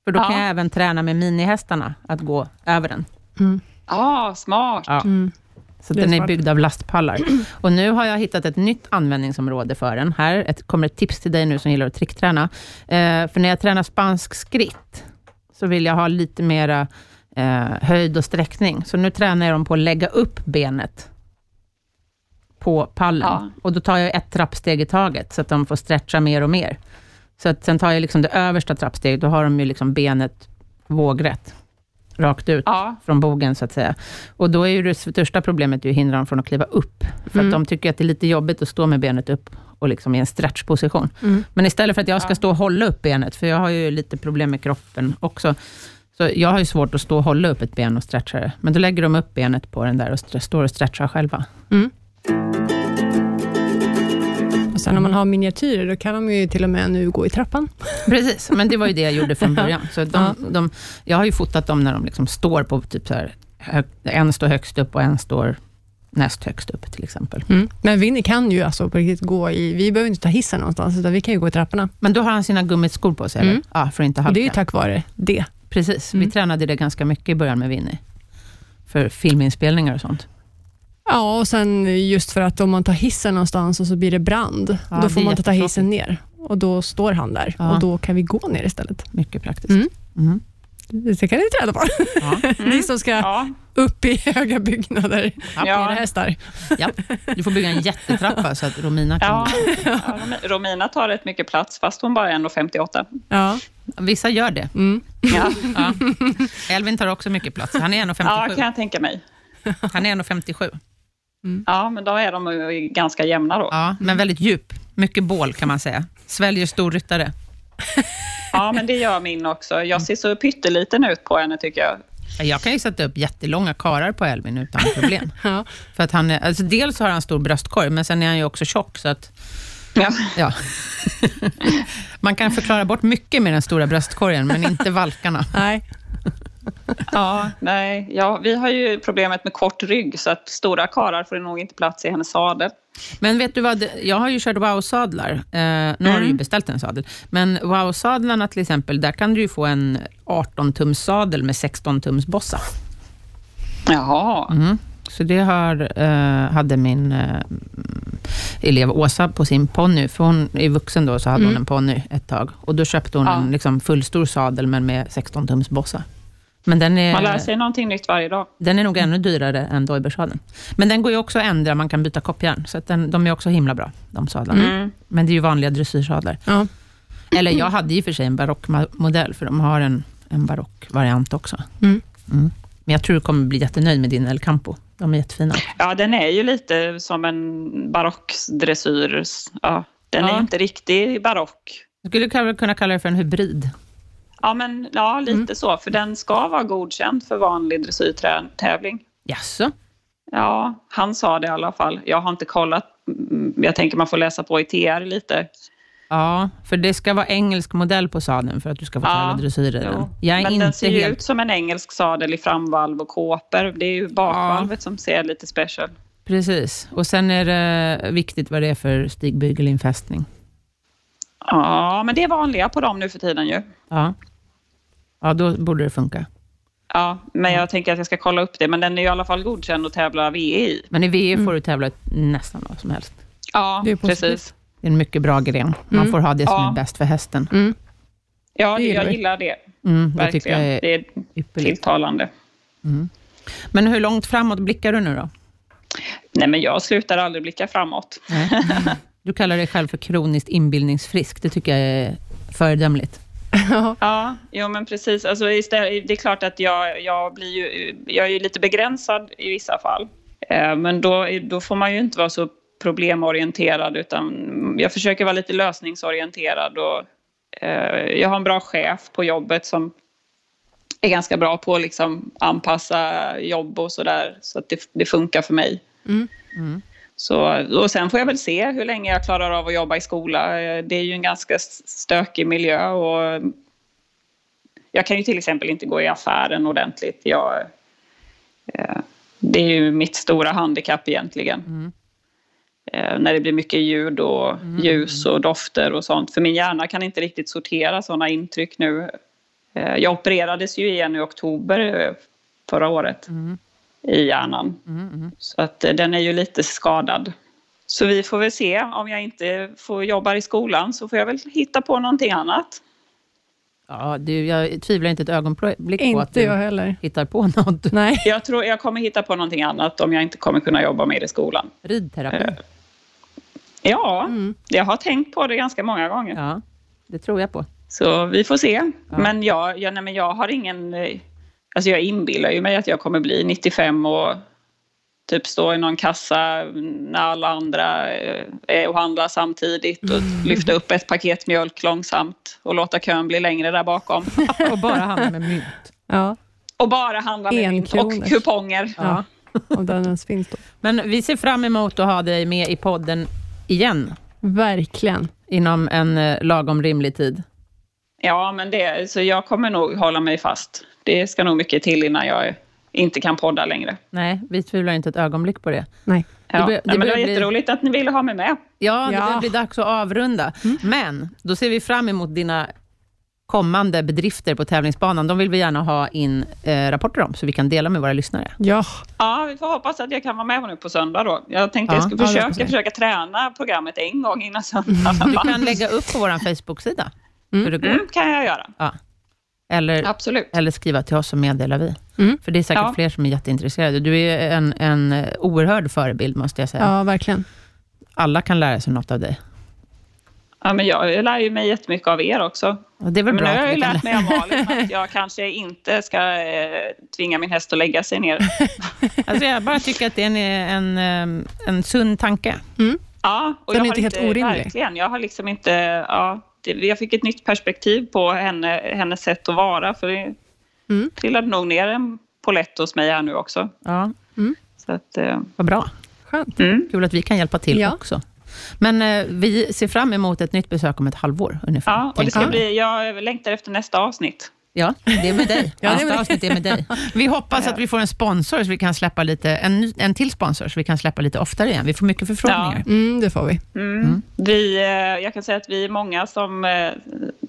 Speaker 1: För då kan
Speaker 3: Ja.
Speaker 1: jag även träna med minihästarna att gå över den.
Speaker 2: Mm.
Speaker 3: Ja, smart.
Speaker 1: Ja. Så
Speaker 2: Det är
Speaker 1: den är
Speaker 2: smart.
Speaker 1: byggd av lastpallar. Och nu har jag hittat ett nytt användningsområde för den. Här ett, kommer ett tips till dig nu som gillar att trickträna. Eh, för när jag tränar spansk skritt, så vill jag ha lite mera eh, höjd och sträckning. Så nu tränar jag dem på att lägga upp benet på pallen.
Speaker 3: Ja.
Speaker 1: Och då tar jag ett trappsteg i taget, så att de får stretcha mer och mer. Så att sen tar jag liksom det översta trappsteget, då har de ju liksom benet vågrätt, rakt ut
Speaker 3: Ja,
Speaker 1: från bogen, så att säga. Och då är ju det största problemet ju att hindra dem från att kliva upp, för att de tycker att det är lite jobbigt att stå med benet upp och liksom i en stretchposition. Men istället för att jag ska stå och hålla upp benet, för jag har ju lite problem med kroppen också, så jag har ju svårt att stå och hålla upp ett ben och stretcha det. Men då lägger de upp benet på den där och stre- står och stretchar själva.
Speaker 2: Och sen om man har miniatyrer, då kan de ju till och med nu gå i trappan.
Speaker 1: Precis, men det var ju det jag gjorde från början. Så de,
Speaker 2: Ja.
Speaker 1: de, jag har ju fotat dem när de liksom står på, typ så här, hö- en står högst upp och en står näst högst upp till exempel.
Speaker 2: Men Winnie kan ju alltså på riktigt gå i, vi behöver inte ta hissen någonstans, utan vi kan ju gå i trapporna.
Speaker 1: Men då har han sina gummiskor på sig, eller?
Speaker 2: Mm.
Speaker 1: Ja, för att inte halka.
Speaker 2: Och det är ju tack vare det.
Speaker 1: Precis, Mm. vi tränade det ganska mycket i början med Winnie. För filminspelningar och sånt.
Speaker 2: Ja, och sen just för att om man tar hissen någonstans och så blir det brand,
Speaker 1: Ja,
Speaker 2: då
Speaker 1: det
Speaker 2: får
Speaker 1: är
Speaker 2: man inte ta
Speaker 1: jättetråkigt.
Speaker 2: hissen ner. Och då står han där
Speaker 1: Ja.
Speaker 2: och då kan vi gå ner istället.
Speaker 1: Mycket praktiskt.
Speaker 2: Mm.
Speaker 1: Mm.
Speaker 2: Det kan ni träna på.
Speaker 1: Ja.
Speaker 2: Ni som ska
Speaker 3: ja.
Speaker 2: upp i höga byggnader
Speaker 1: Ja.
Speaker 2: med era hästar.
Speaker 1: ja. Du får bygga en jättetrappa så att Romina kan...
Speaker 3: Ja, ja, Romi- Romina tar rätt mycket plats fast hon bara är 1,58.
Speaker 2: Ja.
Speaker 1: Vissa gör det.
Speaker 3: Ja,
Speaker 1: Ja. Elvin tar också mycket plats. Han är 1,57.
Speaker 3: ja kan jag tänka mig.
Speaker 1: Han är 1,57.
Speaker 3: Ja, men då är de ju ganska jämna då.
Speaker 1: Ja, men väldigt djup. Mycket bål kan man säga. Sväljer stor ryttare.
Speaker 3: Ja, men det gör min också. Jag ser så pytteliten ut på henne tycker jag.
Speaker 1: Jag kan ju sätta upp jättelånga karar på Elvin utan problem.
Speaker 2: Ja.
Speaker 1: För att han är, alltså dels har han stor bröstkorg, men sen är han ju också tjock, så att
Speaker 3: Ja,
Speaker 1: Ja. Man kan förklara bort mycket med den stora bröstkorgen, men inte valkarna.
Speaker 2: Nej.
Speaker 3: ja nej. Ja, vi har ju problemet med kort rygg så att stora karar får nog inte plats i hennes sadel.
Speaker 1: Men vet du vad, jag har ju kört wow-sadlar. Eh, nu har
Speaker 3: Mm.
Speaker 1: du ju beställt en sadel. Men wow-sadlarna till exempel, där kan du ju få en 18-tums sadel med 16-tums bossa.
Speaker 3: Jaha.
Speaker 1: Mm. Så det har, eh, hade min eh, elev Åsa på sin ponny, för hon är vuxen då, så hade hon en ponny ett tag. Och då köpte hon
Speaker 3: Mm. Ja.
Speaker 1: en liksom, fullstor sadel, men med 16-tums bossa. Men den är...
Speaker 3: Man lär sig någonting nytt varje dag.
Speaker 1: Den är nog ännu dyrare än Doibersadeln. Men den går ju också att ändra, man kan byta koppjärn. Så att den, de är också himla bra, de sadlarna.
Speaker 3: Mm.
Speaker 1: Men det är ju vanliga dressyrsadlar.
Speaker 2: Ja.
Speaker 1: Eller jag hade ju för sig en barockmodell, för de har en, en barockvariant också.
Speaker 2: Mm.
Speaker 1: Mm. Men jag tror du kommer bli jättenöjd med din El Campo. De är jättefina.
Speaker 3: Ja, den är ju lite som en barockdressyr. Ja, den är
Speaker 1: Ja.
Speaker 3: ju inte riktig barock.
Speaker 1: Jag skulle kalla- kunna kalla det för en hybrid.
Speaker 3: Ja, men ja, lite
Speaker 1: Mm.
Speaker 3: så. För den ska vara godkänd för vanlig dressyrtävling.
Speaker 1: Jaså?
Speaker 3: Ja, han sa det i alla fall. Jag har inte kollat. Mm, Jag tänker man får läsa på i TR lite.
Speaker 1: Ja, för det ska vara engelsk modell på sadeln för att du ska få
Speaker 3: Ja,
Speaker 1: tävla dressyr i den.
Speaker 3: Jo.
Speaker 1: Jag är
Speaker 3: Men den
Speaker 1: inte
Speaker 3: ser ju
Speaker 1: helt...
Speaker 3: ut som en engelsk sadel i framvalv och kåpor. Det är ju bakvalvet som ser lite special.
Speaker 1: Precis. Och sen är det viktigt vad det är för stigbygelinfästning.
Speaker 3: Ja, men det är vanliga på dem nu för tiden ju.
Speaker 1: Ja. Ja, då borde det funka.
Speaker 3: Ja, men
Speaker 1: Mm.
Speaker 3: jag tänker att jag ska kolla upp det. Men den är ju i alla fall godkänd att tävla VE i.
Speaker 1: Men i VE
Speaker 3: Mm.
Speaker 1: får du tävla nästan vad som helst.
Speaker 3: Ja,
Speaker 2: Det är positivt.
Speaker 3: precis.
Speaker 1: Det är en mycket bra gren. Man får ha det som
Speaker 3: Mm. Ja.
Speaker 1: är bäst för hästen.
Speaker 3: Ja,
Speaker 2: Det
Speaker 3: det,
Speaker 2: gillar
Speaker 3: jag
Speaker 2: vi.
Speaker 3: gillar det.
Speaker 1: Mm, det tycker
Speaker 3: Verkligen.
Speaker 1: jag är
Speaker 3: Det är
Speaker 1: ypperligt.
Speaker 3: tilltalande.
Speaker 1: Men hur långt framåt blickar du nu då?
Speaker 3: Nej, men jag slutar aldrig blicka framåt.
Speaker 1: Nej. Du kallar dig själv för kroniskt inbildningsfrisk. Det tycker jag är föredömligt.
Speaker 3: Ja, jo men precis. Alltså, istället, det är klart att jag, jag, blir ju, jag är ju lite begränsad i vissa fall. Eh, Men då, då får man ju inte vara så problemorienterad utan jag försöker vara lite lösningsorienterad. Och, eh, jag har en bra chef på jobbet som är ganska bra på att liksom anpassa jobb och sådär så att det, det funkar för mig. Så, och sen får jag väl se hur länge jag klarar av att jobba i skola. Eh, Det är ju en ganska s- stökig miljö och jag kan ju till exempel inte gå i affären ordentligt. Jag, eh, det är ju mitt stora handikapp egentligen. Eh, när det blir mycket ljud och ljus och dofter och sånt. För min hjärna kan inte riktigt sortera sådana intryck nu. Eh, jag opererades ju igen i oktober eh, förra året i hjärnan. Så att eh, den är ju lite skadad. Så vi får väl se. Om jag inte får jobba i skolan så får jag väl hitta på någonting annat.
Speaker 1: Ja, du, jag tvivlar inte ett ögonblick på att
Speaker 2: Inte jag
Speaker 1: du
Speaker 2: heller.
Speaker 1: hittar på något.
Speaker 2: Nej.
Speaker 3: Jag tror jag kommer hitta på någonting annat om jag inte kommer kunna jobba med det i skolan.
Speaker 1: Ridterapi.
Speaker 3: Ja, jag har tänkt på det ganska många gånger.
Speaker 1: Mm. Ja, det tror jag på.
Speaker 3: Så vi får se. Men, jag, jag, nej, men jag har ingen... eh, Alltså jag inbillar ju mig att jag kommer bli 95 och typ stå i någon kassa när alla andra eh, är och handlar samtidigt och
Speaker 1: Mm.
Speaker 3: lyfta upp ett paket mjölk långsamt och låta kön bli längre där bakom.
Speaker 1: Och bara handla med mynt.
Speaker 2: Ja,
Speaker 3: Och bara handla med mynt och
Speaker 2: Enkronor.
Speaker 3: kuponger.
Speaker 1: Ja.
Speaker 2: om den ens finns då.
Speaker 1: Men vi ser fram emot att ha dig med i podden igen,
Speaker 2: Verkligen.
Speaker 1: inom en eh, lagom rimlig tid.
Speaker 3: Ja, men det, så jag kommer nog hålla mig fast. Det ska nog mycket till innan jag inte kan podda längre.
Speaker 1: Nej, vi tvivlar inte ett ögonblick på det.
Speaker 2: Nej.
Speaker 3: Ja.
Speaker 1: bör- det
Speaker 3: Nej, men det
Speaker 1: börjar
Speaker 3: var
Speaker 1: bli-
Speaker 3: jätteroligt att ni ville ha mig med.
Speaker 1: Ja, det
Speaker 2: Ja.
Speaker 1: börjar bli dags att avrunda.
Speaker 3: Mm.
Speaker 1: Men då ser vi fram emot dina kommande bedrifter på tävlingsbanan. De vill vi gärna ha in eh, rapporter om, så vi kan dela med våra lyssnare.
Speaker 2: Ja,
Speaker 3: Ja, vi får hoppas att jag kan vara med nu på söndag då. Jag tänkte
Speaker 1: Ja,
Speaker 3: jag skulle
Speaker 2: ja, det
Speaker 3: försöka,
Speaker 2: hoppas jag.
Speaker 3: försöka träna programmet en gång innan söndag.
Speaker 1: Du kan lägga upp på vår Facebook-sida hur det går.
Speaker 3: Mm, kan jag göra.
Speaker 1: Ja. Eller,
Speaker 3: Absolut.
Speaker 1: eller skriva till oss så meddelar vi.
Speaker 2: Mm.
Speaker 1: För det är säkert
Speaker 3: Ja.
Speaker 1: fler som är jätteintresserade. Du är en, en eh, oerhörd förebild, måste jag säga.
Speaker 2: ja verkligen.
Speaker 1: Alla kan lära sig något av dig.
Speaker 3: Ja, men jag lär ju mig jättemycket av er också.
Speaker 1: Och det är väl
Speaker 3: Men
Speaker 1: bra
Speaker 3: nu har jag
Speaker 1: att
Speaker 3: ju
Speaker 1: vi kan
Speaker 3: lärt mig av Malin att jag kanske inte ska eh, tvinga min häst att lägga sig ner.
Speaker 1: Alltså jag bara tycker att det är en, en, ehm, en sund tanke.
Speaker 3: Ja, och
Speaker 2: Den
Speaker 3: jag
Speaker 2: är
Speaker 3: har
Speaker 2: inte helt orimlig.
Speaker 3: Verkligen, jag har liksom inte... Ja, det, jag fick ett nytt perspektiv på henne, hennes sätt att vara. För det
Speaker 2: Mm.
Speaker 3: trillade nog ner en polett hos mig här nu också.
Speaker 1: Ja,
Speaker 3: Så att, eh,
Speaker 1: vad bra.
Speaker 2: Skönt.
Speaker 3: mm.
Speaker 1: Kul att vi kan hjälpa till
Speaker 2: Ja.
Speaker 1: också. Men eh, vi ser fram emot ett nytt besök om ett halvår ungefär.
Speaker 3: Ja, och det
Speaker 1: tänker
Speaker 3: ska
Speaker 1: jag.
Speaker 3: bli, jag längtar efter nästa avsnitt.
Speaker 1: Ja, det är med dig.
Speaker 2: Ja, det
Speaker 1: Nästa
Speaker 2: är med dig.
Speaker 1: avsnitt är med dig. Vi hoppas att vi får en sponsor, så vi kan släppa lite, en, ny- en till sponsor, så vi kan släppa lite oftare igen. Vi får mycket förfrågningar.
Speaker 2: Mm, det får vi.
Speaker 3: Mm. Vi, eh, jag kan säga att vi är många som eh,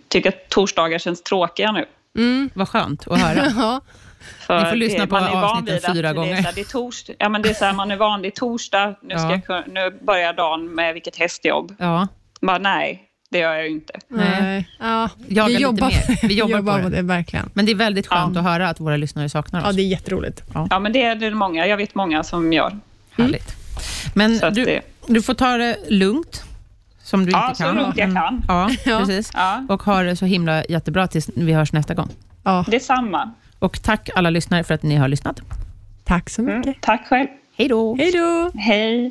Speaker 3: tycker att torsdagar känns tråkiga nu.
Speaker 2: Mm.
Speaker 1: Vad skönt att höra.
Speaker 2: Ja.
Speaker 3: För
Speaker 1: Ni får lyssna
Speaker 3: det-
Speaker 1: på
Speaker 3: man är van
Speaker 1: avsnitten
Speaker 3: vid att
Speaker 1: fyra
Speaker 3: det är
Speaker 1: gånger.
Speaker 3: så här, Det är torsd- ja, men det är så här, man är van, det är torsdag, nu, ska
Speaker 1: Ja.
Speaker 3: jag, kun- nu börjar dagen med vilket hästjobb.
Speaker 1: Ja,
Speaker 3: Bara, nej, det gör jag ju inte.
Speaker 1: Nej.
Speaker 2: Nej. Ja.
Speaker 1: Jaga lite mer. Vi jobbar på det.
Speaker 2: på det. Verkligen.
Speaker 1: men det är väldigt skönt att höra att våra lyssnare saknar oss.
Speaker 2: Ja, det är jätteroligt.
Speaker 3: Ja, men det är det många. Jag vet många som gör.
Speaker 1: Mm. Härligt. Men
Speaker 3: Så att
Speaker 1: du,
Speaker 3: det-
Speaker 1: du får ta det lugnt, som du
Speaker 3: Ja,
Speaker 1: inte
Speaker 3: så
Speaker 1: kan.
Speaker 3: lugnt jag
Speaker 1: Mm.
Speaker 3: kan.
Speaker 1: Ja,
Speaker 2: Ja.
Speaker 1: precis.
Speaker 3: Ja.
Speaker 1: Och ha det så himla jättebra tills vi hörs nästa gång.
Speaker 2: Ja,
Speaker 3: Detsamma.
Speaker 1: Och tack alla lyssnare för att ni har lyssnat.
Speaker 2: tack så mycket.
Speaker 3: Mm. Tack själv.
Speaker 1: Hej då!
Speaker 2: Hej då!
Speaker 3: Hej.